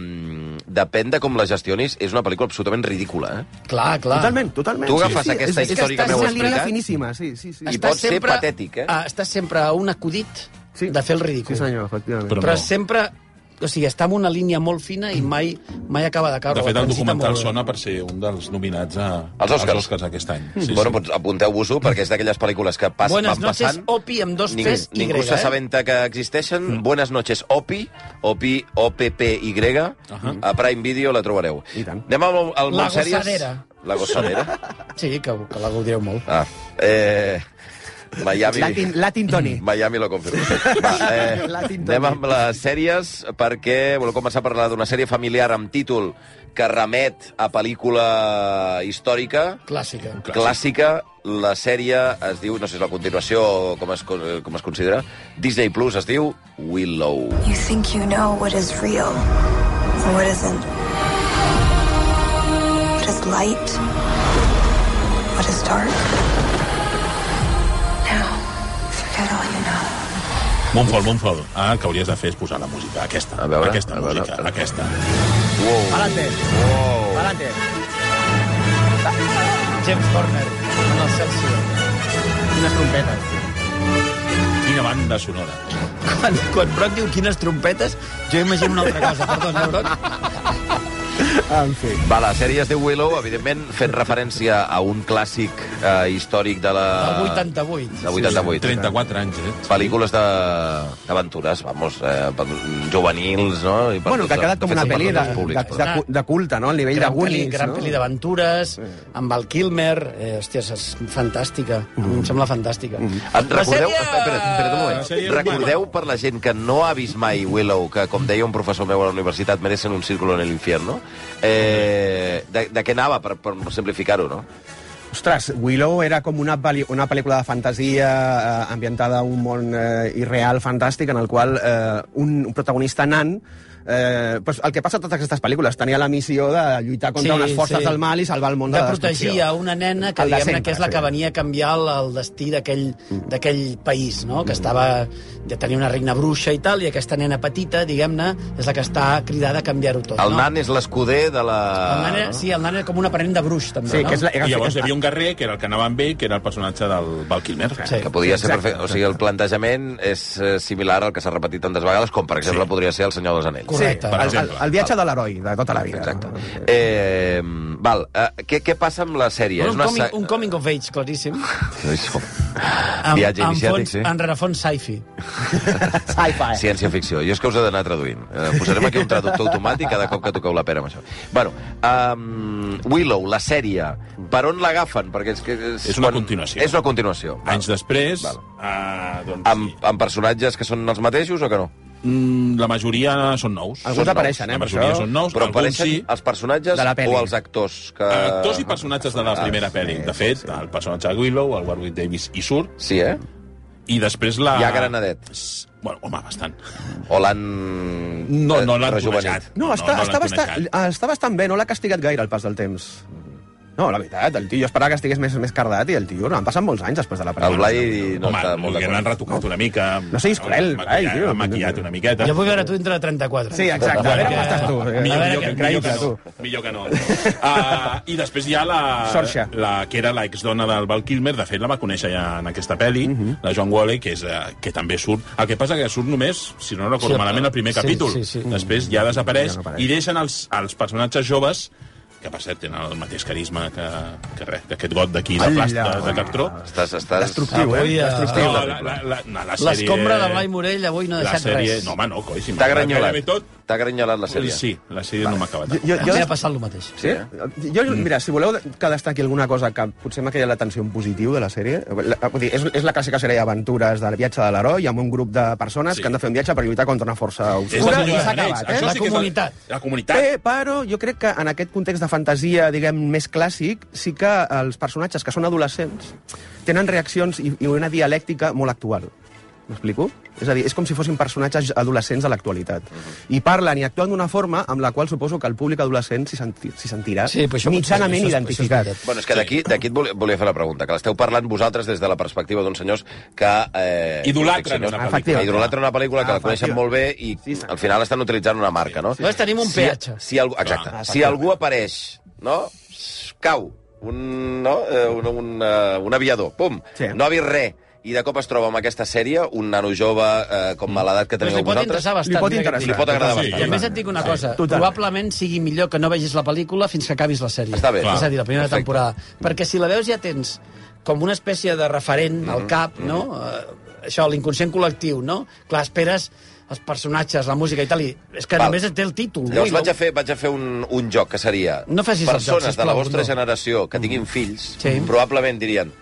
S1: depèn de com la gestionis, és una pel·lícula absolutament ridícula. Eh?
S4: Clar, clar.
S3: Totalment, totalment.
S1: Tu agafes aquesta
S3: és- és
S1: història que
S3: estàs
S1: m'heu
S3: en línia
S1: explicat?
S3: finíssima, sí, sí, sí.
S1: I pot ser patètic, eh?
S4: Ah, estàs sempre a un acudit sí. de fer el ridícul.
S3: Sí, senyor, efectivament.
S4: Però, però no. sempre... O sigui, està en una línia molt fina i mai, mai acaba de caure.
S2: De fet,
S4: La
S2: el
S4: transita
S2: documental
S4: molt bé.
S2: sona per ser un dels nominats a,
S1: Als Oscars.
S2: als Oscars aquest any.
S1: Sí, bueno, doncs apunteu-vos-ho, perquè és d'aquelles pel·lícules que pas,
S4: Buenas
S1: van
S4: noches,
S1: passant...
S4: Opi, amb dos
S1: Ningú,
S4: Ps i
S1: ningú
S4: grega, eh?
S1: s'assabenta que existeixen. Mm. Buenas noches, OPI, OPI, O-P-P-Y, a Prime Video la trobareu. I tant. Anem al, al
S4: La
S1: Montsèries?
S4: gossadera.
S1: La gossadera.
S4: Sí, que, que la gaudireu molt.
S1: Ah, eh... Miami...
S3: Latin, Latin Tony.
S1: Miami lo confirma. Va, eh, anem amb les sèries, perquè voleu començar a parlar d'una sèrie familiar amb títol que remet a pel·lícula històrica,
S4: Clàssica.
S1: clàssica. La sèrie es diu, no sé si és la continuació o com es, co- com es considera, Disney Plus es diu Willow.
S10: You think you know what is real and what isn't. What is light? What is dark? Now, forget all you know.
S2: Montfort, Montfort. Ah, el que hauries de fer és posar la música. Aquesta, a veure, aquesta a veure, música, aquesta.
S1: Wow.
S4: Adelante.
S1: Wow.
S4: Adelante. James Horner, amb el Celsius.
S1: Mm.
S4: Quines trompetes.
S2: Quina banda sonora.
S4: Quan, quan Brock diu quines trompetes, jo imagino una altra cosa. Perdona, Brock. Ah,
S1: En fi. Va, la sèrie es diu Willow, evidentment, fent referència a un clàssic eh, històric de la...
S4: Del 88.
S1: De 88.
S2: 34 anys, eh?
S1: Pel·lícules de- d'aventures, vamos, eh, per juvenils, no? I per
S3: Bueno, que ha
S1: tots-
S3: quedat com
S1: fet,
S3: una
S1: són per
S3: pel·li de,
S1: tots els
S3: de,
S1: públics,
S3: de, cu- de culte, no? Al nivell de
S4: gran
S3: Goonies,
S4: pel·li, gran
S3: no?
S4: pel·li d'aventures, amb el Kilmer, eh, hòsties, és fantàstica, mm. em sembla fantàstica. Mm.
S1: Et recordeu, espera, espera un moment, recordeu per la gent que no ha vist mai Willow, que com deia un professor meu a la universitat, merecen un círculo en el infierno, eh, de, de què anava, per, per simplificar-ho, no?
S3: Ostres, Willow era com una, pel·li, una pel·lícula de fantasia eh, ambientada a un món eh, irreal, fantàstic, en el qual eh, un, un protagonista nan Eh, pues el que passa a totes aquestes pel·lícules tenia la missió de lluitar
S4: Sí,
S3: contra unes forces
S4: sí.
S3: del mal i salvar el món de,
S4: de
S3: la destrucció.
S4: protegir a una nena que
S3: El de
S4: diguem-ne
S3: sempre,
S4: que és la que
S3: sí.
S4: venia a canviar el, el destí d'aquell d'aquell país, no? que estava de tenir una regna bruixa i tal, i aquesta nena petita, diguem-ne, és la que està cridada a canviar-ho tot.
S1: El
S4: no?
S1: nan és l'escuder de la...
S4: El nan era, sí, el nan era com un aprenent de bruix, també. no?
S2: I llavors hi havia un guerrer, que era el que anava amb ell, que era el personatge del Val Kilmer.
S4: Sí.
S1: Que podia ser perfecte. O sigui, el plantejament és eh, similar al que s'ha repetit tantes vegades, com per exemple sí. podria ser El senyor dels anells.
S3: sí, el, el, el viatge de l'heroi de tota la vida. Exacte.
S1: Eh, val, eh, què, què passa amb la sèrie?
S4: Un, coming,
S1: sa-
S4: un coming of age, claríssim.
S1: Això.
S4: Amb,
S1: Viatge
S4: amb
S1: iniciàtic,
S4: fons,
S1: sí.
S4: En rerefons sci-fi.
S3: Sci-fi.
S1: Ciència-ficció. Jo és que us he d'anar traduint. Eh, posarem aquí un traductor automàtic cada cop que toqueu la pera amb això. Bueno, um, Willow, la sèrie, per on l'agafen? Perquè és, que és,
S2: És una continuació.
S1: És una continuació.
S2: Anys després,
S1: Val.
S2: eh, doncs,
S1: Amb, amb personatges que són els mateixos o que no?
S2: mm, la majoria són nous.
S3: Ah,
S1: Alguns
S2: Són nous.
S1: apareixen, eh,
S2: La
S1: per
S2: majoria
S1: això.
S2: són nous,
S1: Però
S2: alguns
S1: apareixen
S2: sí.
S1: els personatges
S2: De la
S1: o
S2: peli.
S1: els actors? Que...
S2: Actors Eh, i personatges de la primera pel·li. De fet, el personatge de Willow, el Warwick Davis, hi surt.
S1: Sí, eh?
S2: I després la...
S1: Hi ha granadet.
S2: Bueno, home, bastant.
S1: O l'han...
S2: No, no l'han
S1: rejuvenit.
S2: tunejat.
S3: No, està, no,
S2: l'han
S3: està, bastant,
S2: tunejat.
S3: està bastant bé, no l'ha castigat gaire el pas del temps. No, la veritat, el tio, jo esperava que estigués més, més cardat i el tio, no, han passat molts anys després de la
S1: El Blai no
S2: Home,
S1: està molt
S2: molt que
S1: d'acord.
S2: l'han retocat una mica.
S3: No siguis cruel, Blai, tio.
S2: L'han maquillat una miqueta.
S4: Jo vull veure tu entre 34.
S3: Sí, exacte, a veure com estàs tu.
S2: Millor,
S4: A veure
S2: millor,
S4: què-
S2: que,
S3: creïble,
S2: millor que no. Millor que no. Uh, I després hi ha la...
S3: Sorxa.
S2: La, que era l'exdona del Val Kilmer, de fet la va conèixer ja en aquesta pel·li, la John Wally, que, és, uh, que també surt... El que passa que surt només, si no recordo
S4: Sí,
S2: malament, el primer
S4: sí,
S2: capítol.
S4: sí, sí.
S2: Després ja desapareix
S3: Ja no apareix.
S2: i deixen els, els personatges joves que, per cert, tenen el mateix carisma que, que, res, que aquest got d'aquí, de
S3: Ai,
S2: plast, de,
S3: ja.
S2: de cartró.
S1: Estàs, estàs...
S3: Destructiu, eh?
S4: Avui, eh,
S3: Destructiu.
S2: No, la, la, la, no, la sèrie...
S4: L'escombra de Blai Morell avui no ha
S2: La
S4: deixat
S2: sèrie...
S4: res.
S2: No, home, no, coi, si
S1: T'ha
S2: m'ha agradat
S1: granyolat.
S2: gairebé tot...
S1: T'ha granyolat la sèrie.
S2: Sí, la sèrie no m'ha acabat.
S3: Jo, jo,
S4: Jo,
S3: jo,
S4: ha eh, passat el mateix.
S3: Sí, eh? Jo,
S2: Mm.
S3: mira, si voleu que destaqui alguna cosa que potser m'ha cridat l'atenció en positiu de la sèrie, la, vull dir, és, és la clàssica sèrie d'aventures del viatge de l'heroi amb un grup de persones
S2: Sí.
S3: sí. que han de fer un viatge per lluitar contra una força
S2: És la
S3: obscura i
S2: Senyora
S3: s'ha
S2: dels Anells.
S3: acabat, eh?
S2: Això
S4: La
S2: sí que és
S4: comunitat. Eh?
S2: La comunitat.
S3: Bé, però jo crec que en aquest context de fantasia, diguem, més clàssic, sí que eh, els personatges que són adolescents tenen reaccions i, i una dialèctica molt actual. M'explico? És a dir, és com si fossin personatges adolescents de l'actualitat. I parlen i actuen d'una forma amb la qual suposo que el públic adolescent s'hi senti, s'hi sentirà
S4: Sí, però això
S3: mitjanament
S4: potser- això és-
S3: identificat.
S4: això és
S1: Bueno, és que d'aquí d'aquí et volia, volia fer la pregunta, que l'esteu parlant vosaltres des de la perspectiva d'uns senyors que... Eh,
S2: Idolatren
S1: senyors-
S2: una
S3: pel·lícula. Efectivament.
S1: Que idolatren una pel·lícula
S4: Ah,
S1: que la
S3: Efectivament.
S1: coneixen molt bé i
S3: Sí, senyor.
S1: al final estan utilitzant una marca, no?
S4: Nosaltres tenim un peatge. Ah,
S1: Si, si algú, exacte.
S3: Clar.
S1: si algú apareix, no? Cau. Un, no? Eh, un, un, eh, un aviador. Pum.
S3: Sí.
S1: No ha vist res. I de cop es troba amb aquesta sèrie, un nano jove eh, com a l'edat que
S4: Doncs
S1: teniu
S4: li pot
S1: vosaltres.
S4: interessar bastant.
S3: Li pot
S4: mira què et
S3: interessar.
S4: dic.
S1: Li pot agradar
S2: Sí,
S4: I a
S2: bastant.
S4: més et dic una cosa,
S3: totalment.
S4: probablement sigui millor que no vegis la pel·lícula fins que acabis la sèrie.
S1: Està bé.
S4: És a dir, la primera
S1: Perfecte.
S4: temporada. Perquè si la veus ja tens com una espècie de referent
S1: Mhm.
S4: al cap, no? Eh, això, l'inconscient col·lectiu, no? Clar, esperes els personatges, la música i tal, i és que
S1: Val.
S4: només et té el títol.
S1: Llavors
S4: no? I
S1: vaig a fer, vaig a fer un, un joc, que seria...
S4: No facis el joc,
S1: Persones de la
S4: sisplau,
S1: vostra
S4: no. Mm.
S1: generació que tinguin fills,
S4: Sí.
S1: probablement dirien,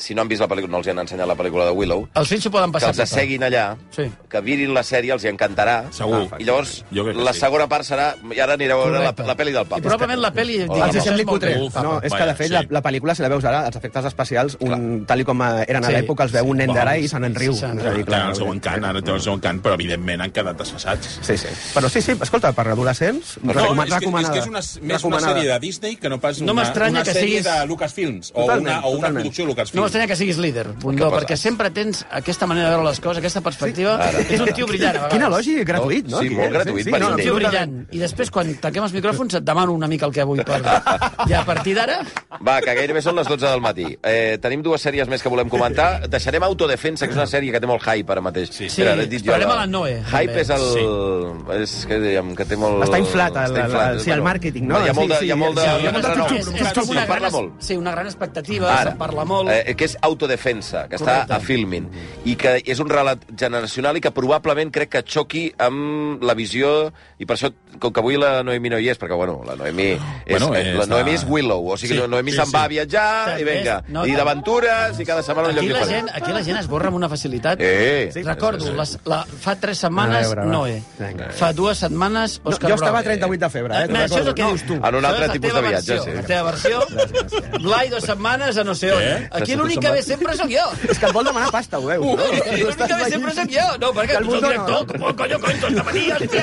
S1: si no han vist la pel·lícula, no els hi han ensenyat la pel·lícula de Willow,
S4: Els fills s'ho poden
S1: que
S4: passar.
S1: els asseguin allà,
S4: Sí.
S1: que virin la sèrie, els hi encantarà.
S2: Segur.
S1: I llavors,
S2: Jo crec que
S1: la
S2: sí.
S1: segona part serà... I ara anireu a veure la,
S4: Correcte.
S1: la pel·li del
S4: I
S1: papa.
S4: probablement la pel·li...
S1: Els
S4: digui,
S1: hi
S3: Els
S4: això
S3: sembli
S4: és molt
S3: cutre.
S4: bé.
S2: Uf,
S3: no, és que, de
S2: vaja,
S3: fet,
S2: sí.
S3: la, la pel·lícula, si la veus ara, els efectes especials, un, tal i com eh, eren a
S4: Sí,
S3: l'època, els veu un nen
S4: sí.
S3: de i se n'en riu.
S4: Sí,
S3: És a
S2: Clar,
S3: dir,
S2: clar, el seu encant, ara té el seu encant, però evidentment han quedat desfassats.
S3: Sí, sí. Però sí, sí, escolta, per adolescents, no, recoma
S2: és, que, és
S3: recomanada.
S2: que és una, més una
S3: Recomanada.
S2: sèrie de Disney que no pas
S4: No
S2: una,
S4: m'estranya
S2: una
S4: que
S2: sèrie
S4: siguis-
S2: de Lucasfilms o
S3: Totalment,
S2: una, o una
S3: totalment.
S2: producció
S4: No
S2: Lucasfilms.
S4: m'estranya que siguis líder, Bundó,
S1: passa?
S4: perquè sempre tens aquesta manera de veure les coses, aquesta perspectiva.
S1: Ara.
S4: És un tio brillant, a vegades.
S3: Quin elogi gratuït, no?
S1: Sí,
S3: Aquí,
S1: molt
S3: eh?
S1: gratuït,
S3: Sí,
S1: per
S3: sí,
S1: Déu.
S4: Un tio
S3: absolutament.
S4: brillant. I després, quan tanquem els micròfons, et demano una mica el que vull per... I a partir d'ara...
S1: Va, que gairebé són les 12 del matí. Eh, tenim dues sèries més que volem comentar. Deixarem Autodefensa, que és una sèrie que té molt hype ara mateix.
S2: Sí.
S4: Sí,
S1: Espera, he dit jo
S4: esperem
S1: la-
S4: a la Noe,
S1: Hype
S4: també.
S1: és el... Sí. És que, diguem, que té molt...
S3: Està inflat el-
S1: Està inflat.
S3: el- sí, el
S1: Bueno,
S3: màrqueting, no?
S1: Hi ha molt de...
S3: Sí, sí,
S1: hi ha molt de...
S3: sí, hi ha
S4: Jo
S3: molta
S1: renom.
S4: penso que és, és com
S1: Se'n
S4: una gran,
S1: parla molt.
S4: sí, una gran expectativa,
S1: Ara.
S4: se'n parla molt.
S1: Eh, que és autodefensa, que
S4: Correcte.
S1: està a Filmin, i que és un relat generacional i que probablement crec que xoqui amb la visió, i per això, com que avui la Noemi no hi és, perquè, bueno, la Noemi és,
S2: Bueno, eh,
S1: la
S2: està-
S1: Noemi és Willow, o sigui,
S2: Sí,
S1: sí, Noemi
S2: sí,
S1: se'n va
S2: sí.
S1: a viatjar,
S4: També
S1: i venga,
S4: és- no,
S1: i
S4: no.
S1: d'aventures, i cada setmana un lloc
S4: Aquí la,
S1: diferent.
S4: gent, aquí la gent es borra amb una facilitat.
S1: Eh. Sí.
S4: Recordo,
S1: Sí, sí, sí.
S4: les, la, fa tres setmanes,
S3: A veure, va.
S4: Noe.
S3: Vinga.
S4: Fa dues setmanes,
S3: No,
S4: Òscar
S3: jo estava a
S4: Brock.
S3: 38 de febre, eh?
S4: Eh,
S3: te'n
S4: això és el que
S3: recordo.
S4: dius tu.
S1: En un altre
S4: Això és la
S1: tipus
S4: teva
S1: de viatge,
S4: versió,
S1: sí.
S4: La teva versió, Blai, dues setmanes a no sé on.
S2: Eh?
S4: Aquí l'únic que ve sempre sóc jo.
S3: No, És que et vol demanar pasta, ho veus? no?
S4: L'únic que ve sempre sóc jo. No, perquè
S3: Que el
S4: tu ets el
S3: Bundó no.
S4: director. Com, Oh, coño, coño, has de venir, hòstia.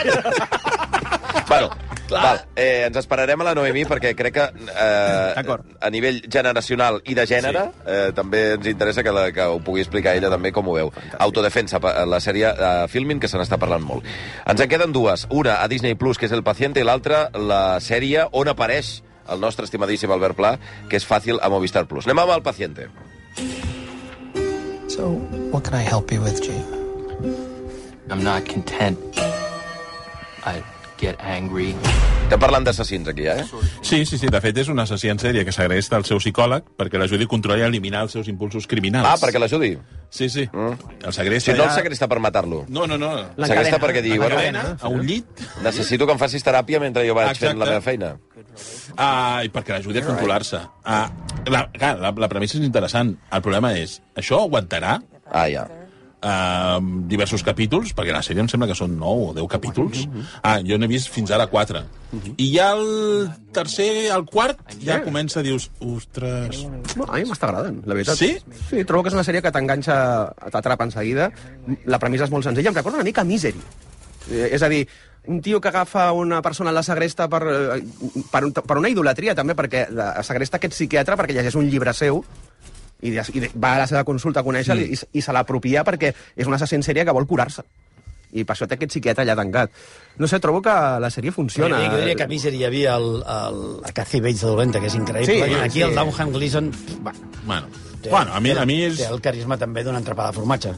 S1: Bueno, val, eh, ens esperarem a la Noemi perquè crec que eh,
S3: D'acord.
S1: a nivell generacional i de gènere eh, també ens interessa que, la, que ho pugui explicar ella també com ho veu. Autodefensa, pa- la sèrie eh, Filmin, que se n'està parlant molt. Ens en queden dues. Una a Disney+, Plus que és El paciente, i l'altra la sèrie on apareix el nostre estimadíssim Albert Pla, que és fàcil a Movistar Plus. Anem amb El paciente.
S10: So, what can I help you with, Chief?
S11: I'm not content. I get angry.
S1: Estem parlant d'assassins aquí, eh?
S2: Sí, sí, sí, de fet és un assassí en sèrie que s'agresta al seu psicòleg perquè l'ajudi a controlar i a eliminar els seus impulsos criminals.
S1: Ah, perquè l'ajudi.
S2: Sí, sí. Mm. El s'agresta
S1: Si no, el
S2: ja...
S1: segresta per matar-lo.
S2: No, no, no.
S1: Segresta perquè digui,
S2: La eh?"
S1: bueno,
S2: cadena, a un llit,
S1: necessito que em facis teràpia mentre jo vaig fent
S2: Exacte.
S1: la meva feina.
S2: Ah, i perquè l'ajudi a controlar-se. Ah, la, clar, la, la premissa és interessant. El problema és, això aguantarà
S1: Ah, ja.
S2: ah, diversos capítols, perquè la sèrie em sembla que són 9 o 10 capítols. Ah, jo n'he vist fins ara 4. I ja el tercer, el quart, ja comença, dius, ostres...
S3: No, a mi m'està agradant, la veritat.
S2: Sí?
S3: Sí, trobo que és una sèrie que t'enganxa, t'atrapa en seguida. La premissa és molt senzilla. Em recorda una mica a Misery. Eh, És a dir, un tio que agafa una persona a la Segresta per, eh, per, un, per una idolatria, també, perquè la a Segresta aquest psiquiatre, perquè llegeix un llibre seu, i, des- i de- va a la seva consulta a conèixer mm. i, i se l'apropia perquè és un assassin sèrie que vol curar-se. I per això té aquest psiquiatre allà tancat. No sé, trobo que la sèrie
S4: Jo
S3: funciona.
S4: diria, jo diria que a Misery hi havia el, el, la Cathy Bates de Dolenta, que és increïble.
S3: Sí,
S4: Sí, Aquí
S3: sí.
S4: sí. el Dunham Gleason... Va,
S2: Bueno, bueno a mi, a mi és...
S4: Té el carisma també d'una entrapada de formatge.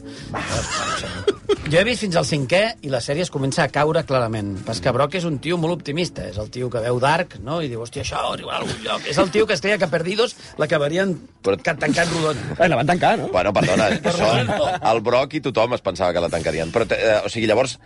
S4: Jo he vist fins al cinquè i la sèrie es comença a caure clarament. Pas que Brock és un tio molt optimista. És el tio que veu Dark no? i diu, hòstia, això arribarà a algun lloc. És el tio que es creia que Perdidos l'acabarien Però... tancant rodona.
S3: Eh, la van tancar, no?
S1: Bueno, perdona, eh, això, el Broc i tothom es pensava que la tancarien. Però, te- eh, o sigui, llavors,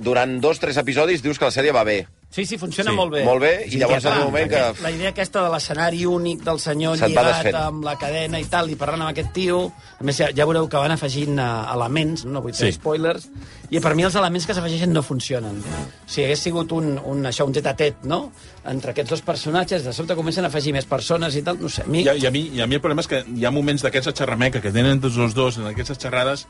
S1: durant dos, tres episodis dius que la sèrie va bé.
S4: Sí, sí, funciona
S1: Sí.
S4: molt bé.
S1: Molt bé, i llavors
S4: ja
S1: en un
S4: fa,
S1: moment que-
S4: aquest- La idea aquesta de l'escenari únic del senyor
S1: Se't va
S4: lligat
S1: desfent.
S4: amb la cadena i tal, i parlant amb aquest tio... A més, ja, ja veureu que van afegint eh, elements, no, no vull fer
S2: Sí.
S4: spoilers, i per mi els elements que s'afegeixen no funcionen. Si hagués sigut un, un, això, un tet a tet, no?, entre aquests dos personatges, de sobte comencen a afegir més persones i tal, no sé, a mi...
S2: I a, i, a mi, I a mi el problema és que hi ha moments d'aquesta xerrameca que tenen tots els dos en aquestes xerrades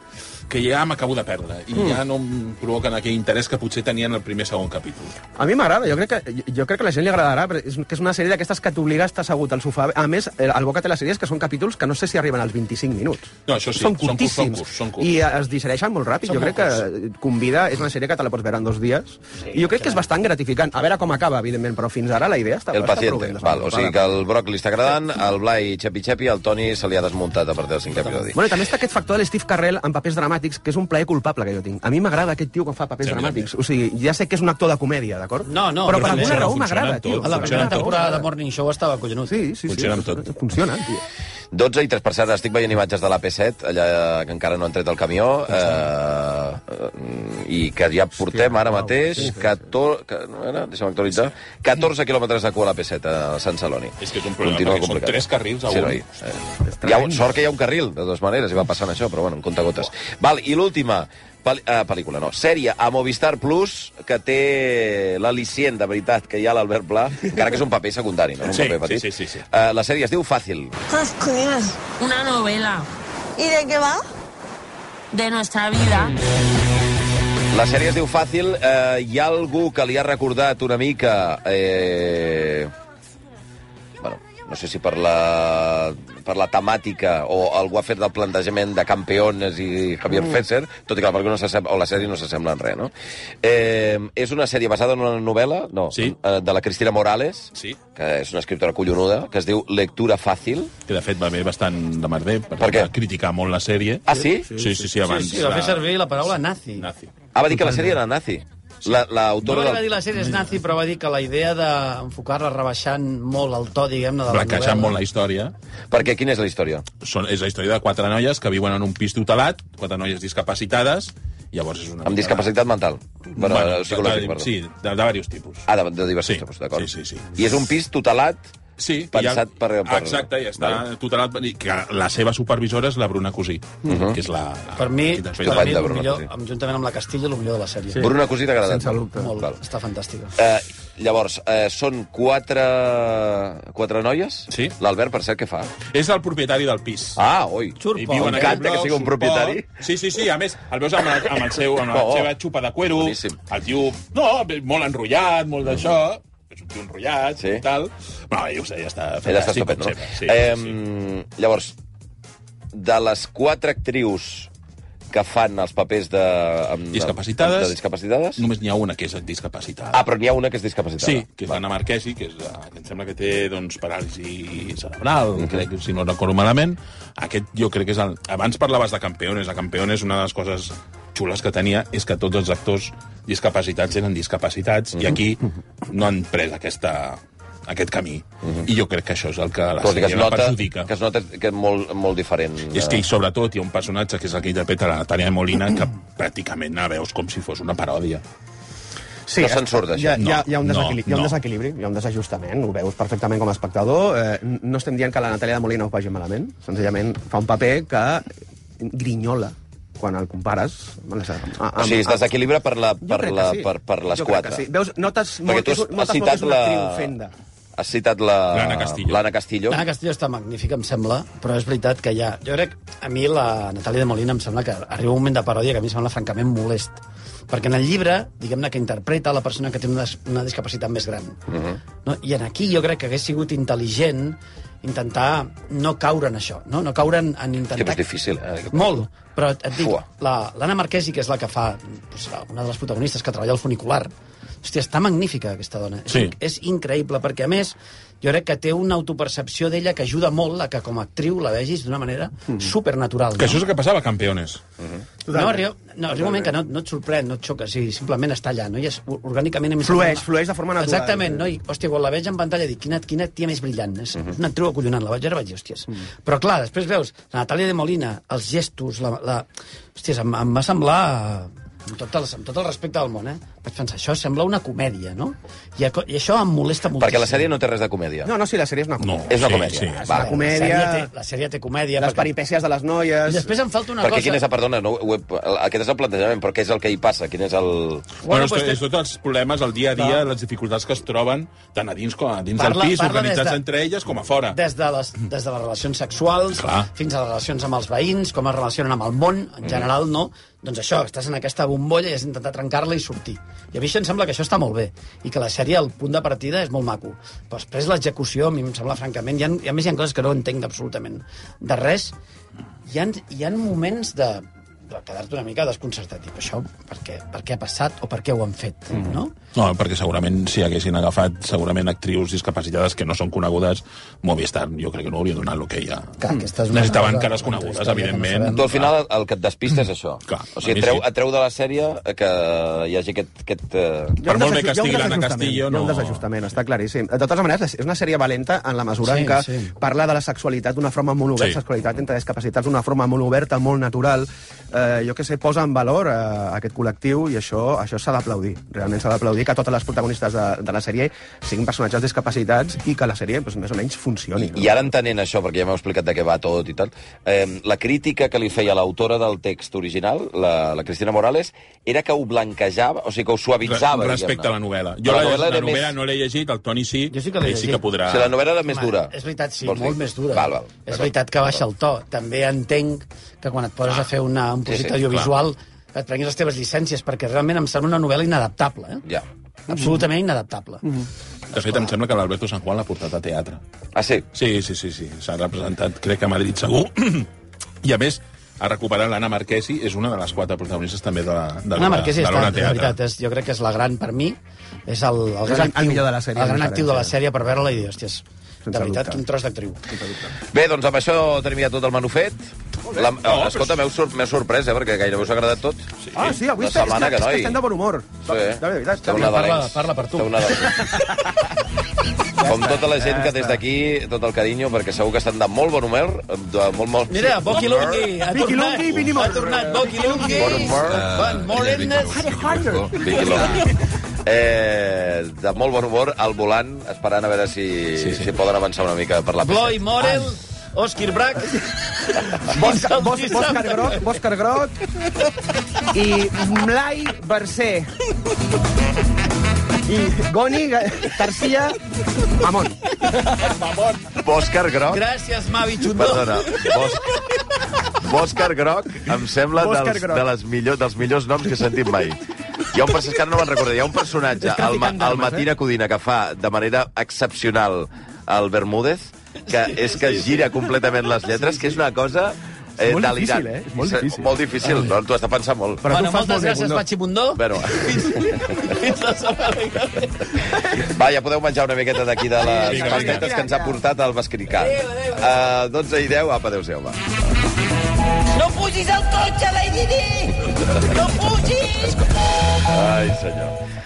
S2: que ja m'acabo de perdre i
S3: Mm.
S2: ja no em provoquen aquell interès que potser tenien el primer segon capítol.
S3: A mi m'agrada, jo, crec que, jo- jo crec que a la gent li agradarà, perquè és, que és una sèrie d'aquestes que t'obliga a estar assegut al sofà. A més, eh, el bo que té la sèrie és que són capítols que no sé si arriben als 25 minuts.
S2: No, això sí,
S3: són
S2: són curts, són
S3: curtíssims.
S2: curts, són curts.
S3: I eh, es digereixen molt ràpid.
S2: Són
S3: jo crec que convida, és una sèrie que te la pots veure en dos dies. Sí, I jo crec que és bastant gratificant. A veure com acaba, evidentment, però fins ara la idea està,
S1: El
S3: està
S1: paciente.
S3: prou ben
S1: Val, o sigui que
S3: desenvolupada.
S1: el Broc li està agradant, el Blai xepi-xepi, el Toni se li ha desmuntat a partir del cinquè episodi.
S3: Bueno, i també està aquest factor de l'Steve Carrell en papers dramàtics, que és un plaer culpable que jo tinc. A mi m'agrada aquest tio quan fa papers
S4: Sí, a mi
S3: dramàtics. O sigui, ja sé que és un actor de comèdia, d'acord?
S4: No, no,
S3: però per
S4: funciona,
S3: alguna raó
S4: funciona
S3: m'agrada,
S4: tot,
S3: tio.
S4: A la primera temporada de Morning Show estava collonut.
S3: Sí, sí,
S1: Funciona
S3: sí.
S1: amb tot.
S3: Funciona, tio.
S1: 12 i 3 per cert, estic veient imatges de l'AP7, allà que encara no han tret el camió, eh, eh, i que ja portem ara mateix 14, que, no era? Deixa'm actualitzar, 14 quilòmetres de cua a l'AP7 a Sant Celoni.
S2: És que és un problema,
S1: Continua
S2: perquè són
S1: complicat.
S2: tres carrils a
S1: sí,
S2: un.
S1: noi. Eh, hi ha, un- sort que hi ha un carril, de dues maneres, i va passant això, però bueno, en compte gotes. Val, i l'última, pel, eh, pel·lícula, no, sèrie a Movistar Plus, que té l'al·licient, de veritat, que hi ha l'Albert Pla, encara que és un paper secundari, no? Un
S2: Sí,
S1: paper
S2: sí,
S1: petit.
S2: sí, sí, sí.
S1: Eh, la sèrie es diu Fàcil.
S12: Una novela.
S10: ¿Y de qué va?
S12: De nuestra vida.
S1: La sèrie es diu Fàcil. Eh, hi ha algú que li ha recordat una mica... Eh... Bueno, no sé si per la, per la temàtica o algú ha fet el plantejament de Campeones i Javier
S13: Mm.
S1: mm. Fesser, tot i que la pel·lícula no s'assembla- o la sèrie no s'assembla en res, no? Eh, és una sèrie basada en una novel·la no, sí. de la Cristina Morales,
S2: Sí.
S1: que és una escriptora collonuda, que es diu Lectura Fàcil.
S2: Que, de fet, va haver bastant de merder, perquè
S1: Per què?
S2: va criticar molt la sèrie.
S1: Ah, sí?
S2: Sí, sí, sí, sí abans.
S4: Sí, sí, va fer servir la paraula nazi. nazi.
S1: Ah, va dir que la sèrie era nazi. La- L'autora
S4: No
S1: la,
S4: li va dir la sèrie és nazi, però va dir que la idea d'enfocar-la rebaixant molt el to, diguem-ne, de la
S2: Blanquejant molt
S4: novel·la.
S2: la història.
S1: Perquè quina és la història?
S2: Són, és la història de quatre noies que viuen en un pis tutelat, quatre noies discapacitades, llavors és una...
S1: Amb discapacitat mental. Bueno,
S2: Bueno,
S1: psicològic,
S2: de-
S1: perdó.
S2: sí, de, de diversos tipus.
S1: Ah, de, de diversos sí. tipus, d'acord. Sí, sí, sí. I és un pis tutelat,
S2: sí,
S1: pensat per, per...
S2: Exacte, ja està vale. tutelat. i Que la seva supervisora és la Bruna Cosí,
S1: Mhm.
S2: que és la... la
S4: Per mi,
S2: arquitecta.
S4: per mi el millor, amb- juntament amb la Castilla, el millor de la sèrie.
S1: Sí. Bruna Cosí t'ha agradat?
S4: Sense dubte. Molt,
S1: Val.
S4: està fantàstica.
S1: Eh, llavors, eh, són quatre, quatre noies?
S2: Sí.
S1: L'Albert, per cert, què fa?
S2: És el propietari del pis.
S1: Ah, ui.
S2: I viu en
S1: M'encanta
S2: aquell bloc,
S1: que sigui un
S2: surt
S1: propietari.
S2: poc. Sí, sí, sí, a més, el veus amb, el, amb, el seu, amb la
S1: Oh.
S2: seva xupa de cuero, Boníssim. el tio, no, molt enrotllat, molt d'això, és un tio enrotllat sí. i tal. Bueno, ja ho sé, ja està.
S1: Ell està
S2: fantàstic,
S1: estupend, no?
S2: com sempre. Sí,
S1: eh,
S2: sí, sí.
S1: Llavors, de les quatre actrius que fan els papers de... Amb,
S2: Discapacitades.
S1: doncs De discapacitades?
S2: Només n'hi ha una que és discapacitada.
S1: Ah, però n'hi ha una que és discapacitada.
S2: Sí, que és l'Anna Marquesi, que, és, la- que em sembla que té doncs, paràlisi cerebral,
S1: Mhm.
S2: mm -hmm. crec, si no recordo malament. Aquest jo crec que és el... Abans parlaves de Campeones. A Campeones una de les coses xules que tenia és que tots els actors discapacitats eren discapacitats
S1: Mhm.
S2: mm -hmm. i aquí no han pres aquesta, aquest camí. Mm -hmm. I jo crec que això és el que la
S1: Cosa Mhm. que
S2: sèrie
S1: es
S2: la
S1: nota,
S2: perjudica.
S1: que es nota que és molt, molt diferent.
S2: I és que, i sobretot, hi ha un personatge que és el que interpreta la Natàlia Molina que pràcticament la veus com si fos una paròdia.
S3: Sí,
S2: No se'n surt, d'això.
S3: Hi ha, hi ha, hi ha un
S2: No,
S3: desequilibri, hi ha un
S2: no.
S3: desequilibri, hi ha un desajustament, ho veus perfectament com a espectador. Eh, no estem dient que la Natàlia de Molina ho vagi malament, senzillament fa un paper que grinyola quan el compares. Amb, les- amb, amb,
S1: O sigui, es desequilibra per, la,
S3: Jo
S1: per,
S3: crec que
S1: la,
S3: sí.
S1: per, per les
S3: Jo crec que
S1: quatre.
S3: Sí. Veus, notes
S1: Perquè
S3: molt,
S1: tu
S3: que
S1: has,
S3: és,
S1: has
S3: notes molt que
S1: citat
S3: és una
S1: la...
S3: actriu ofenda.
S1: Has citat la-
S2: L'Anna Castillo.
S1: l'Anna Castillo.
S4: L'Anna Castillo Ah, està magnífica, em sembla, però és veritat que ja... Jo crec, a mi la Natàlia de Molina em sembla que arriba un moment de paròdia que a mi em sembla francament molest. Perquè en el llibre, diguem-ne que interpreta la persona que té una, dis- una discapacitat més gran.
S1: Mhm.
S4: No? I en aquí jo crec que hagués sigut intel·ligent intentar no caure en això, no, no caure en, en
S1: Que
S4: intentar...
S1: és difícil, eh?
S4: Molt, però et dic,
S1: Fua.
S4: la- l'Anna la, Marquesi, que és la que fa doncs, la- una de les protagonistes que treballa al funicular, hòstia, està magnífica aquesta dona. És-
S2: Sí.
S4: És, increïble, perquè a més jo crec que té una autopercepció d'ella que ajuda molt a que com a actriu la vegis d'una manera
S3: Mm.
S4: supernatural. no?
S2: Que això és el que passava a Campeones.
S4: No, arriba, no, arriba un moment que no, no et sorprèn, no et xoca, sí, simplement està allà, no? I és, orgànicament... a mi em
S3: Flueix,
S4: sembla-
S3: flueix de forma natural.
S4: Exactament, no? I, hòstia, quan la veig en pantalla dic, quina, quina tia més brillant, és
S3: Mhm.
S4: una actriu acollonant, la vaig veure, vaig dir,
S3: Mm.
S4: hòsties. Però clar, després veus la Natàlia de Molina, els gestos, la... la... Hòsties, em, em va semblar amb tot, el, amb tot el respecte del món, eh? Vaig pensar, això sembla una comèdia, no? I, aco- i això em molesta moltíssim.
S1: Perquè la sèrie no té res de comèdia.
S3: No, no, sí, la sèrie és una comèdia.
S1: És una comèdia. Va.
S3: La
S4: La
S3: comèdia,
S4: sèrie té, la sèrie té comèdia.
S3: les
S4: perquè-
S3: peripècies de les
S4: I
S3: noies...
S4: després em falta una
S1: Perquè
S4: cosa...
S1: quin és, el- perdona, no, ho he, el- aquest és el plantejament, però què és el que hi passa? Quin és el...
S2: Bueno,
S4: Bueno,
S2: és,
S4: pues
S2: to-
S4: te-
S2: és tots els problemes, el dia a dia,
S4: Clar.
S2: les dificultats que es troben, tant a dins com a dins
S4: Parla-
S2: del pis,
S4: parla des
S2: organitzats
S4: de-
S2: entre elles com a fora.
S4: Des de les, des de les relacions sexuals
S2: Clar.
S4: fins a les relacions amb els veïns, com es relacionen amb el món,
S3: Mm.
S4: en general, no? Doncs això, estàs en aquesta bombolla i has d'intentar trencar-la i sortir. I a mi això em sembla que això està molt bé, i que la sèrie, el punt de partida, és molt maco. Però després l'execució, a mi em sembla, francament, hi ha, i a més hi ha coses que no entenc absolutament de res. Hi ha, hi ha moments de de quedar-te una mica desconcertat. Dic, això per què, per què ha passat o per què ho han fet,
S3: Mm.
S4: no?
S2: No, perquè segurament si haguessin agafat segurament actrius discapacitades que no són conegudes, Movistar jo crec que no hauria donat l'hoquei ja.
S4: Clar, aquesta és una
S2: Necessitaven
S4: cosa-
S2: cares
S4: una altra
S2: conegudes,
S4: història que no
S2: evidentment.
S1: Tu, al final, el que et despista és això.
S2: Clar,
S1: o
S2: a mi
S1: sigui, treu,
S2: sí.
S1: et treu de la sèrie eh, que hi hagi aquest... aquest eh...
S3: Hi ha un
S2: Per molt bé que
S3: desajust- hi ha un
S2: estigui l'Anna
S3: desajustament,
S2: Castillo,
S3: Hi ha un
S2: no.
S3: desajustament, està claríssim. De totes maneres, és una sèrie valenta en la mesura
S4: Sí,
S3: en què
S4: sí.
S3: parla de la sexualitat d'una forma molt oberta,
S2: Sí.
S3: sí. sexualitat entre discapacitats d'una forma molt oberta, molt natural. Eh, jo que sé, posa en valor eh, aquest col·lectiu i això això s'ha d'aplaudir. Realment s'ha d'aplaudir que totes les protagonistes de, de la sèrie siguin personatges discapacitats i que la sèrie doncs, més o menys funcioni. No?
S1: I ara entenent això, perquè ja m'heu explicat de què va tot i tal, eh, la crítica que li feia l'autora del text original, la, la Cristina Morales, era que ho blanquejava, o sigui, que ho suavitzava.
S2: Re- respecte a la novel·la. Jo
S1: Però la
S2: la, la
S1: novel·la
S2: novel·la,
S1: era més-
S2: no l'he llegit, el Toni sí,
S4: Jo sí que l'he
S2: ell sí que
S4: llegit.
S2: podrà...
S1: O sigui, la novel·la era més
S4: Home,
S1: dura.
S4: És veritat, sí,
S1: Vols
S4: molt
S1: dir?
S4: més dura.
S1: Val, val.
S4: És veritat que baixa el to. També entenc que quan et poses a fer una, un
S1: Ah. Sí,
S4: projecte
S1: sí,
S4: audiovisual que et prenguis les teves llicències, perquè realment em sembla una novel·la inadaptable, eh?
S1: Ja.
S4: Absolutament inadaptable.
S2: De fet, em sembla que l'Alberto San Juan l'ha portat a teatre.
S1: Ah, sí?
S2: Sí, sí, sí, sí. S'ha representat, crec que a Madrid segur. I a més, ha recuperat l'Anna Marquesi, és una de les quatre protagonistes també de la de
S4: Anna
S2: l'Ona-
S4: Marquesi
S2: de
S4: està,
S2: l'Ona
S4: és
S2: Teatre.
S4: veritat, és, jo crec que és la gran, per mi, és el, el gran
S3: el- el
S4: actiu,
S3: millor de la sèrie,
S4: el gran
S3: amb
S4: actiu de la
S3: diferència.
S4: sèrie per veure-la i dir, hòsties, de veritat,
S3: dubte.
S4: quin tros d'actriu.
S1: Bé, doncs amb això tenim ja tot el menú fet. La, no,
S2: però-
S1: escolta, m'heu sor m'heu sorprès, eh, perquè gairebé us ha agradat tot.
S3: Ah, sí, avui
S1: La
S3: està, és,
S1: setmana
S3: que,
S1: que
S3: és
S1: no
S3: que
S1: hi-
S3: estem de bon humor.
S1: Sí. eh?
S3: De veritat.
S1: Esteu
S3: estem-
S1: nadalencs.
S4: parla per tu.
S1: Esteu nadalencs. Com tota la gent que des d'aquí, tot el carinyo, perquè segur que estan de molt bon humor, de molt, molt...
S4: Mira, Boqui Lungui, ha
S3: Vicky
S4: tornat.
S3: Lunghi, Vinny Moore.
S4: Ha tornat Boqui Lunghi.
S1: Bon humor.
S4: Van Morenes.
S1: Vicky Longhi. Eh, de molt bon humor, al volant, esperant a veure si, sí, sí. si poden avançar una mica per la
S4: Bloi
S1: pista.
S4: Morel, Òscar Brac...
S3: Bòscar, Bòs- Bòscar Groc, Bòscar Groc i Blai Mercè. I Goni Ga- Garcia Mamón.
S1: Bòscar Groc,
S4: Gràcies, Mavi Chundó.
S1: perdona, Bòscar, Bòscar Groc em sembla
S3: Bòscar
S1: dels,
S3: Groc.
S1: de les millor, dels millors noms que he sentit mai. Hi ha un personatge, no me'n recordo, hi ha un personatge, el, ma, el
S4: eh?
S1: Matina Codina, que fa de manera excepcional el Bermúdez, que és que gira completament les lletres, que és una cosa... Eh,
S3: És molt
S1: delirant.
S3: difícil, eh? És molt difícil. Eh.
S1: Molt difícil, no? T'ho has de pensar molt.
S3: Però tu
S4: Bueno,
S3: ho fas molt
S4: moltes
S3: bé,
S4: gràcies,
S3: Bundó.
S4: Patxi Bundó.
S1: Bueno,
S4: Fins la setmana que ve.
S1: va, ja podeu menjar una miqueta d'aquí de les
S2: vinga,
S1: pastetes
S2: vinga.
S1: que ens ha portat el Mascricà.
S4: Adéu, adéu.
S1: Uh, 12 i 10, apa, adéu-siau, va.
S5: No pugis al cotxe, Lady Di! No pugis!
S1: Ai, senyor.